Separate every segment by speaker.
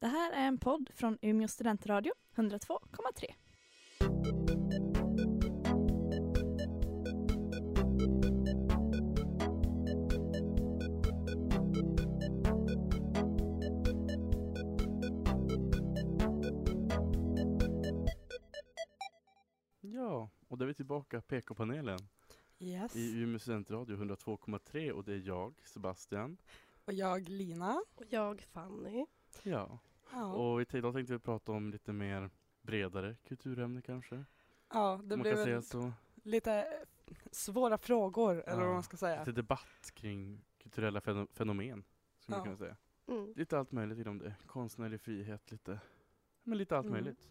Speaker 1: Det här är en podd från Umeå studentradio, 102,3.
Speaker 2: Ja, och där är vi tillbaka, PK-panelen
Speaker 3: Yes.
Speaker 2: i Umeå studentradio 102,3 och det är jag, Sebastian.
Speaker 3: Och jag Lina.
Speaker 4: Och jag Fanny.
Speaker 2: Ja,
Speaker 3: Ja,
Speaker 2: och i- idag tänkte vi prata om lite mer bredare kulturämne kanske.
Speaker 3: ja det
Speaker 2: Det man
Speaker 3: blev
Speaker 2: kan säga
Speaker 3: väl
Speaker 2: så.
Speaker 3: lite eh, svåra frågor eller
Speaker 2: Ja.
Speaker 3: vad man ska säga.
Speaker 2: Lite debatt kring kulturella feno- fenomen, skulle man
Speaker 3: Ja.
Speaker 2: kunna säga.
Speaker 4: Mm.
Speaker 2: Lite allt möjligt inom det. Konstnärlig frihet, lite, men lite allt
Speaker 3: Mm.
Speaker 2: möjligt.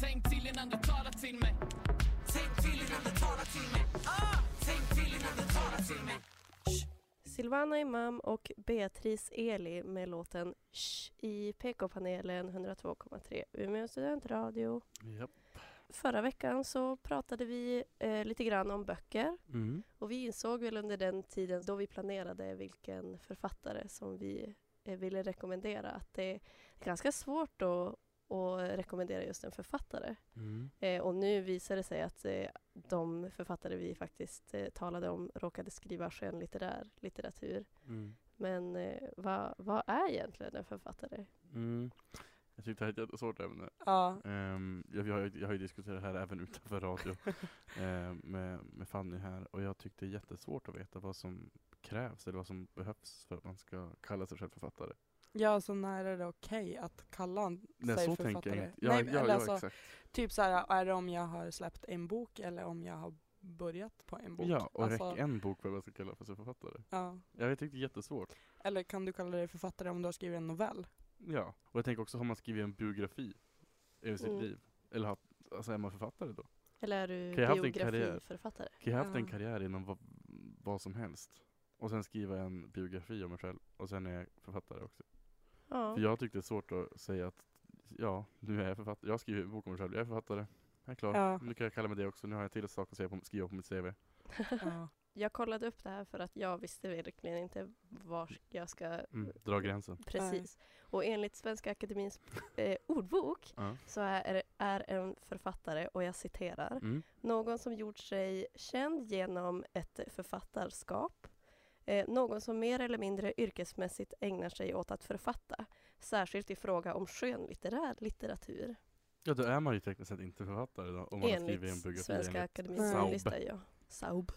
Speaker 5: Tänk till innan du talar till mig. Tänk till innan du talar till mig. Ah! Tänk till innan du talar till mig.
Speaker 4: Silvana Imam och Beatrice Eli med låten Shh i PK-panelen 102,3 Umeå studentradio.
Speaker 2: Japp.
Speaker 4: Förra veckan så pratade vi eh, lite grann om böcker
Speaker 2: Mm.
Speaker 4: och vi insåg väl under den tiden då vi planerade vilken författare som vi eh, ville rekommendera att det är ganska svårt att, att rekommendera just en författare.
Speaker 2: Mm.
Speaker 4: Eh, och nu visar det sig att eh, de författare vi faktiskt eh, talade om råkade skriva skönlitterär litteratur.
Speaker 2: Mm.
Speaker 4: Men eh, vad vad är egentligen en författare?
Speaker 2: Mm. Jag tyckte det här är ett jättesvårt ämne.
Speaker 3: Ja,
Speaker 2: Ehm, jag, jag, har ju- jag har ju diskuterat det här även utanför radio ehm, med, med Fanny här och jag tyckte det är jättesvårt att veta vad som krävs eller vad som behövs för att man ska kalla sig själv författare.
Speaker 3: ja så när är det okej att kalla en-
Speaker 2: Nej,
Speaker 3: sig
Speaker 2: så
Speaker 3: författare?
Speaker 2: tänker jag inte. Ja,
Speaker 3: Nej,
Speaker 2: ja,
Speaker 3: eller
Speaker 2: ja,
Speaker 3: alltså,
Speaker 2: exakt.
Speaker 3: typ så här, är det om jag har släppt en bok eller om jag har börjat på en bok?
Speaker 2: Ja, och
Speaker 3: Alltså,
Speaker 2: räck en bok för att man ska kalla för sig författare.
Speaker 3: ja.
Speaker 2: Ja, jag tyckte det är jättesvårt.
Speaker 3: Eller kan du kalla dig författare om du har skrivit en novell?
Speaker 2: Ja, och jag tänker också, har man skrivit en biografi över sitt
Speaker 4: Mm.
Speaker 2: liv? Eller har, alltså, är man författare då?
Speaker 4: Eller är du
Speaker 2: Kan jag haft en karriär?
Speaker 4: biografiförfattare?
Speaker 2: Kan jag ha haft en
Speaker 3: Ja.
Speaker 2: karriär inom vad, vad som helst? Och sen skriva en biografi om mig själv och sen är jag författare också.
Speaker 4: Ja.
Speaker 2: För jag tyckte det är svårt att säga att ja, nu är jag författare. Jag skriver en bok om mig själv, jag är författare. Jag är klar.
Speaker 3: Ja.
Speaker 2: Nu kan jag kalla mig det också. Nu har jag till sak att säga på, skriva på mitt CV.
Speaker 3: Ja.
Speaker 4: Jag kollade upp det här för att jag visste verkligen inte var jag ska...
Speaker 2: Mm. Dra gränsen.
Speaker 4: Precis. Och enligt Svenska Akademins eh, ordbok
Speaker 2: Ja.
Speaker 4: så är, är en författare, och jag citerar,
Speaker 2: Mm.
Speaker 4: Någon som gjort sig känd genom ett författarskap. Eh, någon som mer eller mindre yrkesmässigt ägnar sig åt att författa, särskilt i fråga om skönlitterär litteratur.
Speaker 2: Ja, då är man ju tekniskt sett inte författare då, om man har skrivit en
Speaker 4: Enligt
Speaker 2: biografi.
Speaker 4: Svenska
Speaker 2: enligt-
Speaker 4: Akademiens
Speaker 2: Saub.
Speaker 4: ordlista, ja. Saub.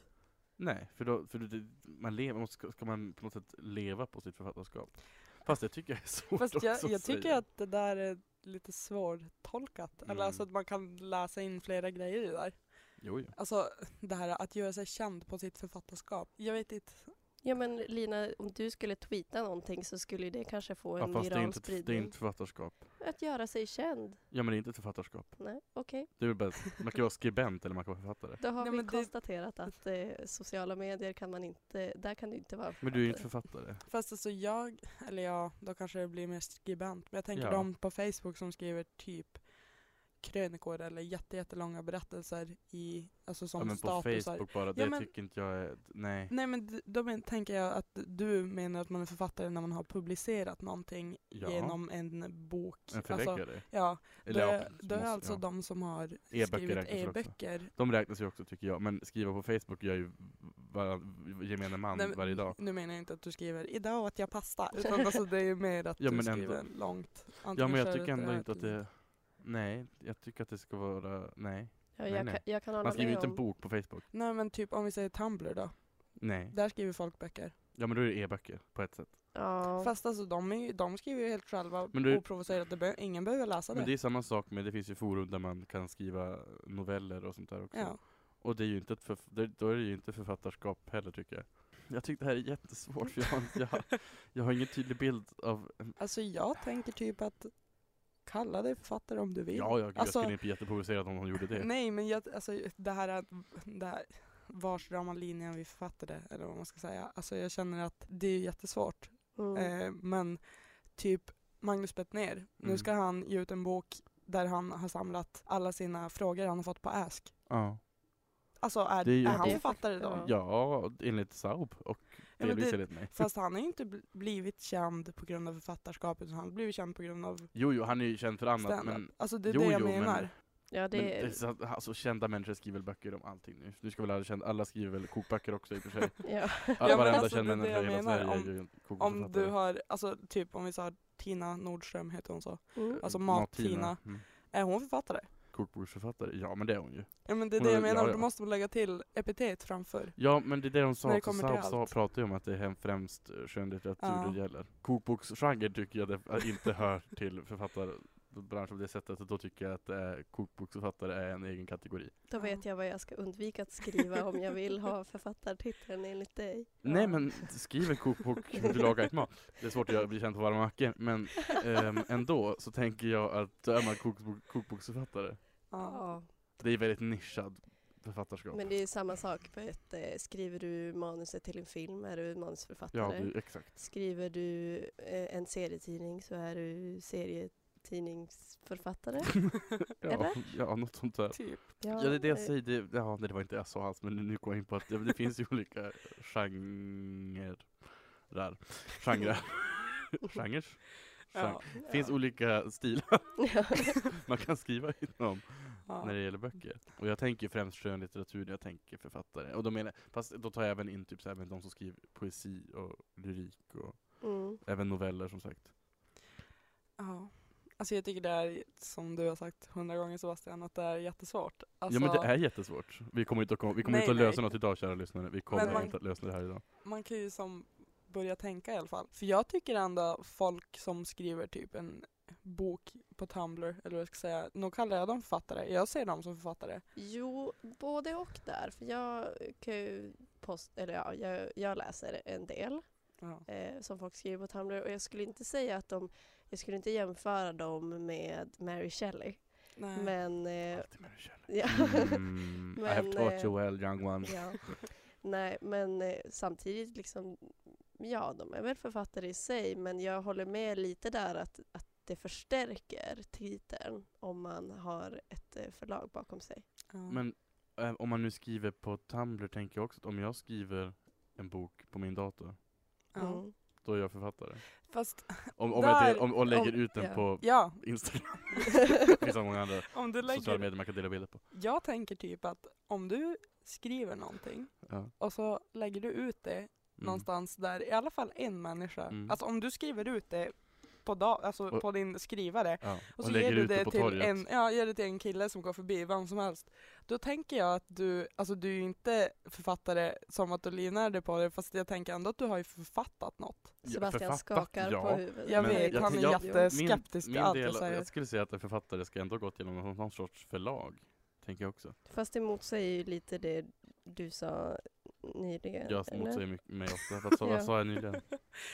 Speaker 2: Nej, för då för det, man lever, man ska, ska man på något sätt leva på sitt författarskap? Fast det tycker jag är svårt
Speaker 3: Fast jag,
Speaker 2: också
Speaker 3: jag
Speaker 2: säga.
Speaker 3: tycker att det där är lite svårtolkat.
Speaker 2: Mm.
Speaker 3: Eller alltså att man kan läsa in flera grejer i det där.
Speaker 2: Jo, jo.
Speaker 3: Alltså det här att göra sig känd på sitt författarskap. Jag vet inte.
Speaker 4: Ja men Lina, om du skulle tweeta någonting så skulle ju det kanske få
Speaker 2: Ja,
Speaker 4: en
Speaker 2: fast det är,
Speaker 4: viral
Speaker 2: inte, ett- det är
Speaker 4: spridning.
Speaker 2: inte ett författarskap.
Speaker 4: Att göra sig känd.
Speaker 2: Ja, men det är inte ett författarskap.
Speaker 4: Nej, okej.
Speaker 2: Det är väl bara, man kan vara skribent eller man kan vara författare.
Speaker 4: Då har
Speaker 3: Nej,
Speaker 4: vi
Speaker 3: men det-
Speaker 4: konstaterat att eh, sociala medier kan man inte, där kan du inte vara
Speaker 2: Men du är ju inte författare.
Speaker 3: Fast alltså jag, eller ja, då kanske det blir mer skribent. Men jag tänker
Speaker 2: Ja.
Speaker 3: de på Facebook som skriver typ krönikor eller jätte, jättelånga berättelser i, alltså som
Speaker 2: ja, men på
Speaker 3: statusar.
Speaker 2: Facebook bara, det
Speaker 3: men-
Speaker 2: tycker inte jag är, nej.
Speaker 3: Nej men d- då men, tänker jag att du menar att man är författare när man har publicerat någonting
Speaker 2: Ja.
Speaker 3: genom en bok.
Speaker 2: En
Speaker 3: alltså,
Speaker 2: förläggare?
Speaker 3: ja, då
Speaker 2: Eller ja,
Speaker 3: är, då är
Speaker 2: måste-
Speaker 3: alltså
Speaker 2: ja.
Speaker 3: de som har
Speaker 2: E-böcker
Speaker 3: skrivit
Speaker 2: räknas väl också?
Speaker 3: e-böcker.
Speaker 2: De räknas ju också tycker jag, men skriva på Facebook gör ju var, gemene man
Speaker 3: Nej, men-
Speaker 2: varje dag.
Speaker 3: Nu menar jag inte att du skriver idag åt jag pasta, utan alltså det är ju mer att
Speaker 2: Ja,
Speaker 3: du
Speaker 2: men
Speaker 3: skriver
Speaker 2: ändå.
Speaker 3: långt.
Speaker 2: Ja
Speaker 3: Antingen
Speaker 2: men jag
Speaker 3: kör
Speaker 2: tycker
Speaker 3: ett
Speaker 2: ändå
Speaker 3: röd
Speaker 2: inte att
Speaker 3: eller-
Speaker 2: det, nej, jag tycker att det ska vara, nej.
Speaker 4: Ja,
Speaker 2: Nej,
Speaker 4: jag,
Speaker 2: nej.
Speaker 4: Kan, jag kan hålla
Speaker 2: Man skriver ju
Speaker 4: med
Speaker 2: inte
Speaker 4: om.
Speaker 2: en bok på Facebook.
Speaker 3: Nej men typ om vi säger Tumblr då,
Speaker 2: Nej.
Speaker 3: där skriver folk böcker.
Speaker 2: Ja men då är det e-böcker på ett sätt.
Speaker 4: Ja.
Speaker 3: Fast alltså de, är ju, de skriver ju helt själva,
Speaker 2: Men du-
Speaker 3: oprovocerat, det be- ingen behöver läsa det.
Speaker 2: Men det är samma sak med, det finns ju forum där man kan skriva noveller och sånt där också.
Speaker 3: Ja.
Speaker 2: Och det är ju inte ett förf- det, då är det ju inte författarskap heller tycker jag. Jag tycker det här är jättesvårt för jag har, inte- jag, har- jag har ingen tydlig bild av,
Speaker 3: Alltså jag tänker typ att kalla dig författare om du vill.
Speaker 2: ja, jag, jag
Speaker 3: Alltså-
Speaker 2: skulle inte bli jätteprovocerad om någon gjorde det.
Speaker 3: Nej men jag, alltså det här att, det här, varsdramalinjen vi författade, eller vad man ska säga. Alltså jag känner att det är jättesvårt.
Speaker 4: Mm.
Speaker 3: Eh, men typ Magnus Bettner, nu
Speaker 2: Mm.
Speaker 3: ska han ge ut en bok där han har samlat alla sina frågor han har fått på Ask.
Speaker 2: Ja.
Speaker 3: Alltså är,
Speaker 2: Det är
Speaker 3: är,
Speaker 2: ju-
Speaker 3: han
Speaker 4: Det är
Speaker 3: författare då?
Speaker 4: faktiskt-
Speaker 2: ja, enligt Saab och
Speaker 3: men
Speaker 2: delvis
Speaker 3: det-
Speaker 2: enligt mig.
Speaker 3: Fast han har ju inte bl- blivit känd på grund av författarskapet utan han har blivit känd på grund av
Speaker 2: Jo, jo, han är ju känd för annat,
Speaker 3: standup.
Speaker 2: men
Speaker 3: alltså det är
Speaker 2: jo,
Speaker 3: det jag
Speaker 2: jo, men-
Speaker 3: menar.
Speaker 4: Ja,
Speaker 2: Det...
Speaker 4: det
Speaker 2: Men det är
Speaker 4: är,
Speaker 2: så att- alltså, kända människor skriver väl böcker om allting nu. Nu ska väl alla kända, alla skriver väl kokböcker också i och för sig.
Speaker 4: ja.
Speaker 2: All,
Speaker 3: men
Speaker 2: varenda
Speaker 3: alltså,
Speaker 2: känd
Speaker 3: det är det
Speaker 2: människa i
Speaker 3: jag
Speaker 2: hela
Speaker 3: menar.
Speaker 2: Sverige
Speaker 3: Om-
Speaker 2: är ju en kokbokförfattare.
Speaker 3: Om du har, alltså typ om vi sa Tina Nordström heter hon så.
Speaker 4: Mm.
Speaker 3: alltså
Speaker 2: Eh,
Speaker 3: Mat-Tina.
Speaker 2: Mm.
Speaker 3: Är hon författare?
Speaker 2: Kokboksförfattare, ja men det är hon ju.
Speaker 3: Ja men det är
Speaker 2: Hon
Speaker 3: det
Speaker 2: är-
Speaker 3: jag menar,
Speaker 2: ja, ja.
Speaker 3: då måste man lägga till epitet framför.
Speaker 2: Ja men det är det de
Speaker 3: När det
Speaker 2: sa, så
Speaker 3: kommer
Speaker 2: Saab
Speaker 3: till
Speaker 2: sa,
Speaker 3: allt.
Speaker 2: pratade ju om att det är hem- främst eh, skönlitteratur
Speaker 3: Ja.
Speaker 2: det gäller. Kokboksgenre tycker jag det, att inte hör till författarbranschen på det sättet, att då tycker jag att eh, kokboksförfattare är en egen kategori.
Speaker 4: Då vet jag vad jag ska undvika att skriva om jag vill ha författartiteln enligt dig.
Speaker 2: Nej men skriv en kokbok hur du lagar ett mat. Det är svårt att göra- bli känd på varma mackor men ehm, ändå så tänker jag att då är man kokbok, kokboksförfattare.
Speaker 3: Ja.
Speaker 4: Ja,
Speaker 2: Det är väldigt nischad författarskap.
Speaker 4: men det är ju samma sak. På ett, eh, skriver du manuset till en film är du
Speaker 2: Ja,
Speaker 4: manusförfattare.
Speaker 2: du, exakt.
Speaker 4: Skriver du eh, en serietidning så är du serietidningsförfattare.
Speaker 2: Ja,
Speaker 4: Eller?
Speaker 2: ja, något sånt där.
Speaker 3: Typ.
Speaker 2: Ja, det är det
Speaker 4: eh,
Speaker 2: jag säger. Det, ja, nej, det var inte det jag sa alls, men nu går jag in på att det, det finns ju olika genrer. Genrer. Genres? Genre.
Speaker 3: Ja.
Speaker 2: Det finns olika stilar man kan skriva inom
Speaker 3: Ja.
Speaker 2: när det gäller böcker. Och jag tänker ju främst skönlitteratur när jag tänker författare. Och då menar, fast då tar jag även in typ så här, även de som skriver poesi och lyrik och
Speaker 4: Mm.
Speaker 2: även noveller som sagt.
Speaker 3: Ja. Alltså jag tycker det är, som du har sagt hundra gånger Sebastian, att det är jättesvårt. Alltså,
Speaker 2: ja men det är jättesvårt. Vi kommer inte att, komma, vi kommer
Speaker 3: Nej,
Speaker 2: inte att lösa
Speaker 3: nej.
Speaker 2: något idag kära lyssnare. Vi kommer
Speaker 3: man-
Speaker 2: inte att lösa det här idag.
Speaker 3: Man kan ju som börja tänka i alla fall. För jag tycker ändå folk som skriver typ en bok på Tumblr, eller vad jag ska säga, nog kallar jag dem författare. Jag ser dem som författare.
Speaker 4: Jo, både och där. För jag kan ju post, eller ja, jag, jag läser en del.
Speaker 3: Ja.
Speaker 4: eh, som folk skriver på Tumblr och jag skulle inte säga att de, jag skulle inte jämföra dem med Mary Shelley.
Speaker 3: Nej.
Speaker 4: Men, eh,
Speaker 2: Alltid med det kära.
Speaker 4: ja,
Speaker 2: Mm, I have
Speaker 4: Men,
Speaker 2: taught
Speaker 4: eh,
Speaker 2: you well young one.
Speaker 4: ja. Nej, men eh, samtidigt liksom, ja de är väl författare i sig men jag håller med lite där att, att det förstärker titeln om man har ett eh, förlag bakom sig.
Speaker 3: Ja.
Speaker 2: Men eh, om man nu skriver på Tumblr tänker jag också att om jag skriver en bok på min dator,
Speaker 3: ja.
Speaker 4: Mm.
Speaker 2: då är jag författare.
Speaker 3: Fast,
Speaker 2: Om, om, jag,
Speaker 3: Där-
Speaker 2: del, om och lägger
Speaker 4: om-
Speaker 2: ut den
Speaker 4: ja.
Speaker 2: på
Speaker 3: ja,
Speaker 2: Instagram. Det finns så många andra
Speaker 3: om du
Speaker 2: sociala
Speaker 3: lägger...
Speaker 2: medier man kan dela bilder på.
Speaker 3: Jag tänker typ att om du skriver någonting
Speaker 2: Ja. Mm.
Speaker 3: och så lägger du ut det någonstans där, i alla fall en människa.
Speaker 2: Mm.
Speaker 3: Alltså om du skriver ut det på, dag, alltså
Speaker 2: Och-
Speaker 3: på din skrivare
Speaker 2: Ja.
Speaker 3: och, så ger du det till en, ja, ger det till en kille som går förbi, vem som helst. Då tänker jag att du, alltså du är ju inte författare som att du linar dig på det, fast jag tänker ändå att du har ju författat något.
Speaker 2: Ja,
Speaker 4: Sebastian
Speaker 2: författat,
Speaker 4: skakar på
Speaker 2: ja.
Speaker 4: huvudet.
Speaker 3: Jag
Speaker 2: Men
Speaker 3: vet,
Speaker 2: jag
Speaker 3: han
Speaker 2: t-
Speaker 3: är
Speaker 2: jag-
Speaker 3: jätteskeptisk till
Speaker 2: min
Speaker 3: allt jag
Speaker 2: del,
Speaker 3: säger.
Speaker 2: jag skulle säga att en författare ska ändå gå till någon, någon sorts förlag. Tänker jag också.
Speaker 4: Fast emot sig ju lite det du sa nyligen.
Speaker 2: Jag
Speaker 4: eller?
Speaker 2: motsäger mycket- mig ofta. Vad sa,
Speaker 4: Ja.
Speaker 2: vad sa jag nyligen?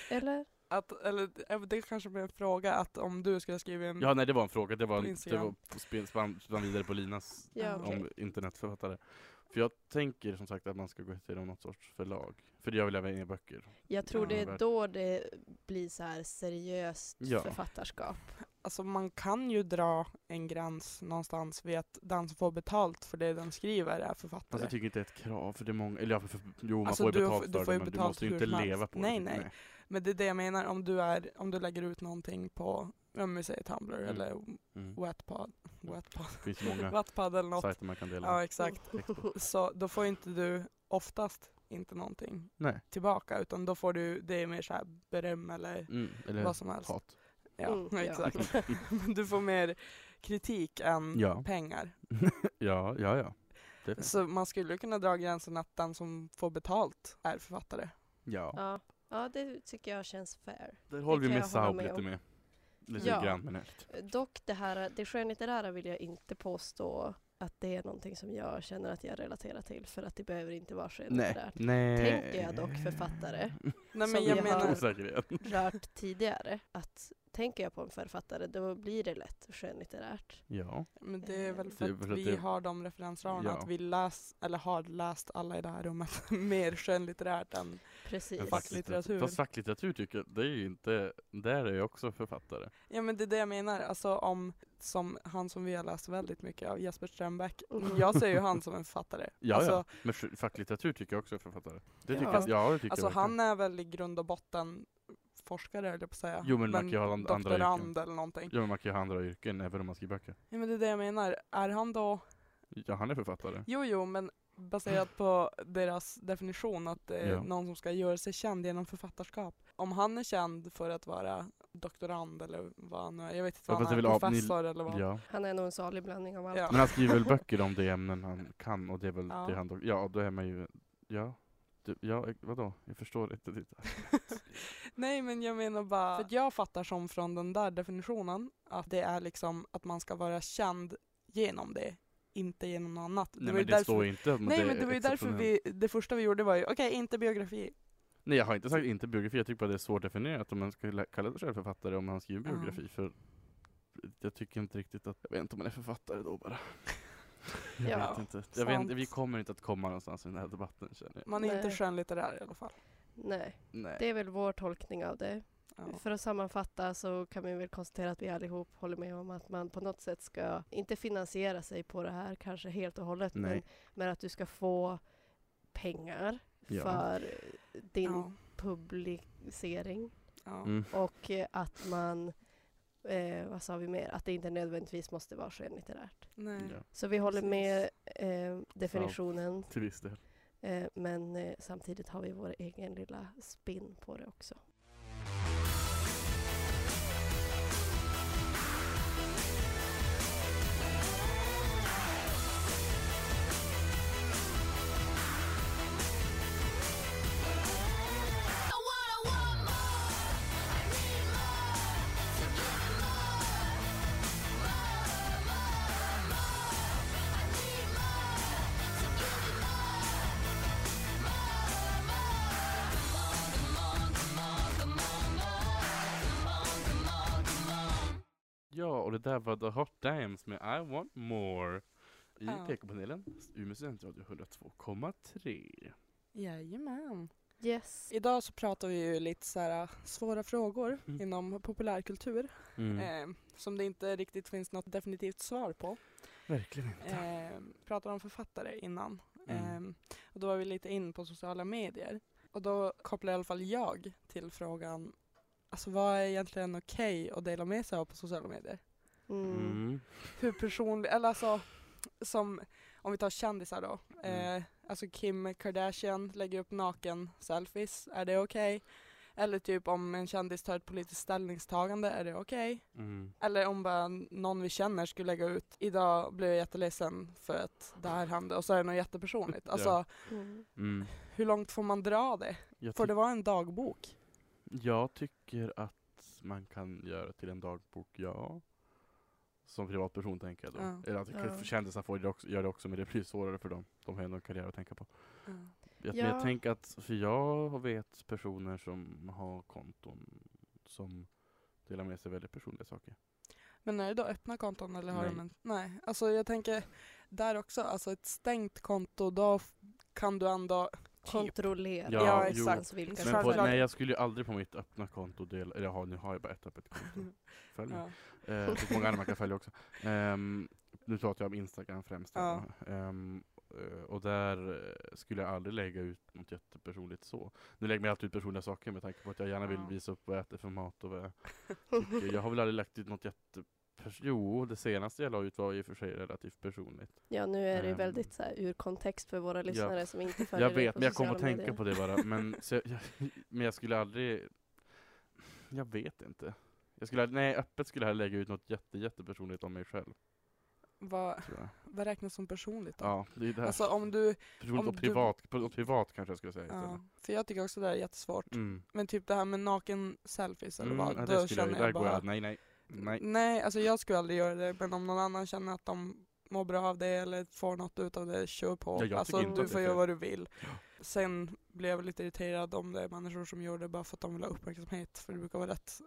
Speaker 4: eller?
Speaker 3: Att, eller, ja, men det kanske blir en fråga att om du skulle skriva en...
Speaker 2: Ja, nej det var en fråga. Det var,
Speaker 3: På
Speaker 2: en- det
Speaker 3: Instagram.
Speaker 2: var på spel, spann, spann vidare på Linas
Speaker 4: Ja,
Speaker 3: Ja.
Speaker 4: okej.
Speaker 2: om internetförfattare. För jag tänker som sagt att man ska gå till något sorts förlag. För jag vill även ge böcker.
Speaker 4: Jag tror
Speaker 3: Ja.
Speaker 4: det är då det blir så här seriöst
Speaker 2: Ja.
Speaker 4: författarskap.
Speaker 3: Alltså man kan ju dra en gräns någonstans vid att den som får betalt för det den skriver är författare.
Speaker 2: Alltså, jag tycker inte det är ett krav, för det är många, eller ja, för, för, jo man
Speaker 3: Alltså,
Speaker 2: får ju
Speaker 3: du
Speaker 2: betalt
Speaker 3: får-
Speaker 2: för
Speaker 3: du får
Speaker 2: det
Speaker 3: ju
Speaker 2: men du
Speaker 3: betalt
Speaker 2: måste ju
Speaker 3: hur
Speaker 2: inte
Speaker 3: som helst.
Speaker 2: leva på
Speaker 3: Nej,
Speaker 2: det. Typ,
Speaker 3: nej. Men det är det jag menar, om du, är, om du lägger ut någonting på, om vi säger Tumblr
Speaker 2: Mm.
Speaker 3: eller
Speaker 2: Mm.
Speaker 3: Wattpad, Wattpad,
Speaker 2: Det finns ju många
Speaker 3: Wattpad eller något.
Speaker 2: sajter man kan dela
Speaker 3: Ja exakt.
Speaker 2: text på.
Speaker 4: Mm.
Speaker 3: Så då får ju inte du oftast inte någonting
Speaker 2: Nej.
Speaker 3: tillbaka utan då får du, det är mer så här beröm eller
Speaker 2: Mm, eller
Speaker 3: vad som helst.
Speaker 2: hat.
Speaker 3: Ja,
Speaker 4: Mm, ja.
Speaker 3: exakt. Men du får mer kritik än
Speaker 2: Ja.
Speaker 3: pengar.
Speaker 2: Ja, ja, ja. Det finns.
Speaker 3: Så man skulle ju kunna dra gränsen att den som får betalt är författare.
Speaker 2: Ja.
Speaker 4: Ja. ja, det tycker jag känns fair.
Speaker 2: Där håller vi
Speaker 4: kan
Speaker 2: med
Speaker 4: jag hålla
Speaker 2: Saab
Speaker 4: med
Speaker 2: lite
Speaker 4: om.
Speaker 2: med. Lite
Speaker 4: Ja.
Speaker 2: grann men lite.
Speaker 4: Dock det här, det skönlitterära vill jag inte påstå att det är någonting som jag känner att jag relaterar till för att det behöver inte vara
Speaker 2: Nej.
Speaker 4: skönlitterärt.
Speaker 2: nej.
Speaker 4: Tänker jag dock författare.
Speaker 3: Nej
Speaker 4: Som
Speaker 3: men
Speaker 4: vi
Speaker 3: jag
Speaker 4: har-
Speaker 3: menar,
Speaker 2: Osäkerhet.
Speaker 4: Rört tidigare att tänker jag på en författare då blir det lätt skönlitterärt.
Speaker 2: Ja.
Speaker 3: Men det är väl för
Speaker 2: Det är
Speaker 3: att
Speaker 2: väl att
Speaker 3: vi
Speaker 2: det-
Speaker 3: har de referensramarna,
Speaker 2: Ja.
Speaker 3: att vi läs, eller har läst alla i det här rummet mer skönlitterärt än...
Speaker 4: Precis.
Speaker 3: Fackligt. facklitteratur.
Speaker 2: Fast facklitteratur tycker jag, det är ju inte, där är jag också författare.
Speaker 3: Ja men det är det jag menar, alltså om, som han som vi har läst väldigt mycket av, Jesper Strömbäck.
Speaker 4: Mm.
Speaker 3: Jag ser ju han som en författare.
Speaker 2: Ja,
Speaker 3: alltså,
Speaker 2: ja. Men sk- facklitteratur tycker jag också är författare. Det tycker
Speaker 4: Ja.
Speaker 2: jag, ja, det tycker
Speaker 3: alltså
Speaker 2: jag verkligen.
Speaker 3: han är väl i grund och botten forskare höll jag på att säga.
Speaker 2: Jo, men man kan ju ha and- andra yrken.
Speaker 3: doktorand eller någonting.
Speaker 2: Ja, men man kan ju ha andra yrken även om man skriver böcker.
Speaker 3: Ja men det är det jag menar, är han då
Speaker 2: Ja, han är författare.
Speaker 3: Jo, jo, men baserat på deras definition att det är
Speaker 2: Ja.
Speaker 3: någon som ska göra sig känd genom författarskap. Om han är känd för att vara doktorand eller vad han nu är, jag vet inte
Speaker 2: Ja,
Speaker 3: vad
Speaker 2: fast det är
Speaker 3: han är,
Speaker 2: väl av- ni-
Speaker 3: professor eller vad han
Speaker 2: Ja.
Speaker 4: Han är nog en salig blandning av allt.
Speaker 3: Ja.
Speaker 2: Men han skriver väl böcker om det ämnen han kan och det är väl
Speaker 3: Ja.
Speaker 2: det han då, ja då är man ju, ja. Du, ja, eh, vadå? Jag förstår inte ditt.
Speaker 3: Nej, men jag menar bara, för att jag fattar som från den där definitionen att det är liksom att man ska vara känd genom det, inte genom något annat.
Speaker 2: Nej
Speaker 3: var ju
Speaker 2: men det
Speaker 3: därför-
Speaker 2: står ju inte om
Speaker 3: Nej
Speaker 2: det
Speaker 3: men det
Speaker 2: är
Speaker 3: var ju därför
Speaker 2: exceptionellt.
Speaker 3: vi, det första vi gjorde var ju, okej inte biografi.
Speaker 2: Nej jag har inte sagt inte biografi, jag tycker bara det är svårt definierat om man ska lä- kalla sig själv författare om man skriver
Speaker 3: Ja.
Speaker 2: biografi för jag tycker inte riktigt att, jag vet inte om man är författare då bara. Jag
Speaker 4: Ja,
Speaker 2: vet inte. Jag vet inte,
Speaker 3: sant.
Speaker 2: vi kommer inte att komma någonstans i den här debatten känner jag.
Speaker 3: Man är inte
Speaker 4: Nej.
Speaker 3: skönlitterär i alla fall.
Speaker 4: Nej,
Speaker 2: Nej.
Speaker 4: det är väl vår tolkning av det.
Speaker 3: Ja.
Speaker 4: För att sammanfatta så kan vi väl konstatera att vi allihop håller med om att man på något sätt ska inte finansiera sig på det här kanske helt och hållet men,
Speaker 2: Nej.
Speaker 4: men att du ska få pengar
Speaker 2: Ja.
Speaker 4: för din
Speaker 3: Ja,
Speaker 4: publicering
Speaker 3: ja.
Speaker 2: Mm.
Speaker 4: och eh, att man, eh, vad sa vi mer, att det inte nödvändigtvis måste vara skönlitterärt.
Speaker 3: Nej.
Speaker 2: Ja,
Speaker 4: Så vi håller
Speaker 3: Precis.
Speaker 4: med eh, definitionen
Speaker 2: till viss del.
Speaker 4: eh, men eh, samtidigt har vi vår egen lilla spin på det också.
Speaker 2: Ja, och det där var The Hot Dimes med I Want More i
Speaker 3: Ja.
Speaker 2: PK-panelen, Umeå studentradio 102,3.
Speaker 3: Jajamän.
Speaker 4: Yes.
Speaker 3: Idag så pratar vi ju lite så här äh, svåra frågor
Speaker 2: Mm.
Speaker 3: inom populärkultur eh, som det inte riktigt finns något definitivt svar på.
Speaker 2: Verkligen
Speaker 3: Eh, pratade om författare innan
Speaker 2: Mm.
Speaker 3: eh, och då var vi lite in på sociala medier och då kopplade i alla fall jag till frågan Alltså vad är egentligen okej att dela med sig av på sociala medier?
Speaker 4: Mm.
Speaker 2: Mm.
Speaker 3: Hur personlig, eller alltså som om vi tar kändisar då. Eh, alltså Kim Kardashian lägger upp naken selfies, är det okej? Eller typ om en kändis tar ett politiskt ställningstagande, är det okej?
Speaker 2: Mm.
Speaker 3: Eller om bara någon vi känner skulle lägga ut, idag blev jag jätteledsen för att det här hände och så är det något jättepersonligt. Alltså
Speaker 2: Ja.
Speaker 4: Mm.
Speaker 2: Mm.
Speaker 3: hur långt får man dra det?
Speaker 2: Jag,
Speaker 3: Får
Speaker 2: ty-
Speaker 3: det vara en dagbok?
Speaker 2: jag tycker att man kan göra till en dagbok, ja. Som privatperson tänker jag då.
Speaker 3: Ja.
Speaker 2: Eller jag tycker
Speaker 4: Ja.
Speaker 2: för kändisar får det också, gör det också, men det blir svårare för dem. De har ändå en karriär att tänka på. Jag, men
Speaker 4: Ja.
Speaker 2: jag tänker att, för jag vet personer som har konton som delar med sig väldigt personliga saker.
Speaker 3: Men är det då öppna konton eller har
Speaker 2: Nej.
Speaker 3: de en? Nej, alltså jag tänker där också, alltså ett stängt konto, då f- kan du ändå typ,
Speaker 4: Kontrollera.
Speaker 2: Ja, Ja,
Speaker 3: exakt.
Speaker 4: någonstans vilka
Speaker 2: Men på,
Speaker 3: Självklart.
Speaker 2: nej, jag skulle ju aldrig på mitt öppna konto dela, eller jaha, nu har jag bara ett öppet konto. Följ mig.
Speaker 3: ja.
Speaker 2: Eh, det finns många andra man kan följa också. Ehm, nu pratar jag om Instagram främst. här
Speaker 3: Ja.
Speaker 2: då. Ehm, eh, och där eh, skulle jag aldrig lägga ut något jättepersonligt så. Nu lägger jag alltid ut personliga saker med tanke på att jag gärna vill
Speaker 3: Ja.
Speaker 2: visa upp vad jag äter för mat och vad jag tycker. Jag har väl aldrig lagt ut något jätte... Jo, det senaste jag la ut var i och för sig relativt personligt.
Speaker 4: Ja, nu är det ju
Speaker 2: Ehm.
Speaker 4: väldigt så här, ur kontext för våra lyssnare som inte följer
Speaker 2: jag vet,
Speaker 4: det
Speaker 2: men jag kommer att
Speaker 4: sociala
Speaker 2: tänka
Speaker 4: medier.
Speaker 2: på det bara. Men, så jag, jag, men jag skulle aldrig... Jag vet inte. Jag skulle, aldrig- nej, öppet skulle jag lägga ut något jätte, jättepersonligt om mig själv.
Speaker 3: vad,
Speaker 2: Tror jag.
Speaker 3: vad räknas som personligt då?
Speaker 2: Ja, det är det här.
Speaker 3: Alltså om du,
Speaker 2: Personligt
Speaker 3: Om
Speaker 2: och
Speaker 3: du-
Speaker 2: privat, på- och privat kanske jag skulle säga
Speaker 3: ja,
Speaker 2: istället.
Speaker 3: för jag tycker också det där är jättesvårt.
Speaker 2: Mm.
Speaker 3: Men typ det här med naken selfies eller
Speaker 2: Mm,
Speaker 3: vad,
Speaker 2: ja,
Speaker 3: då
Speaker 2: det skulle jag,
Speaker 3: känner
Speaker 2: ju-
Speaker 3: jag,
Speaker 2: där går
Speaker 3: bara
Speaker 2: jag, nej nej. Nej.
Speaker 3: alltså jag skulle aldrig göra det, men om någon annan känner att de mår bra av det eller får något ut av det, kör på.
Speaker 2: Ja, jag
Speaker 3: alltså
Speaker 2: tycker
Speaker 4: inte
Speaker 3: du
Speaker 4: att
Speaker 2: det
Speaker 3: får
Speaker 2: är
Speaker 3: göra
Speaker 2: fel.
Speaker 3: vad du vill. Sen blir jag väl lite irriterad om det är människor som gör det bara för att de vill ha uppmärksamhet, för det brukar vara rätt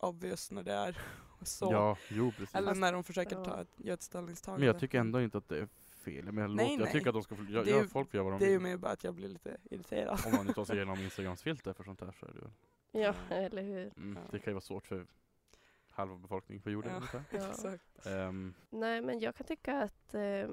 Speaker 3: obvious när det är så.
Speaker 2: Ja, jo precis.
Speaker 3: Eller
Speaker 4: Fast-
Speaker 3: när de försöker
Speaker 4: ja.
Speaker 3: ta ett, göra ett ställningstagande.
Speaker 2: Men jag tycker ändå inte att det är fel. Men jag,
Speaker 3: Nej,
Speaker 2: låter, jag
Speaker 3: nej.
Speaker 2: tycker att de ska få, jag,
Speaker 3: Det är
Speaker 2: jag,
Speaker 3: ju-
Speaker 2: folk får göra vad de
Speaker 3: Det är ju
Speaker 2: vill.
Speaker 3: mer bara att jag blir lite irriterad.
Speaker 2: Om man nu tar sig igenom Instagrams filter för sånt här så är det väl.
Speaker 4: Ja, eller hur.
Speaker 2: Mm,
Speaker 3: Ja.
Speaker 2: Det kan ju vara svårt för halva befolkningen på jorden
Speaker 3: Ja.
Speaker 2: ungefär.
Speaker 4: Ja.
Speaker 3: Exakt.
Speaker 2: Ehm,
Speaker 4: Nej, men jag kan tycka att, eh,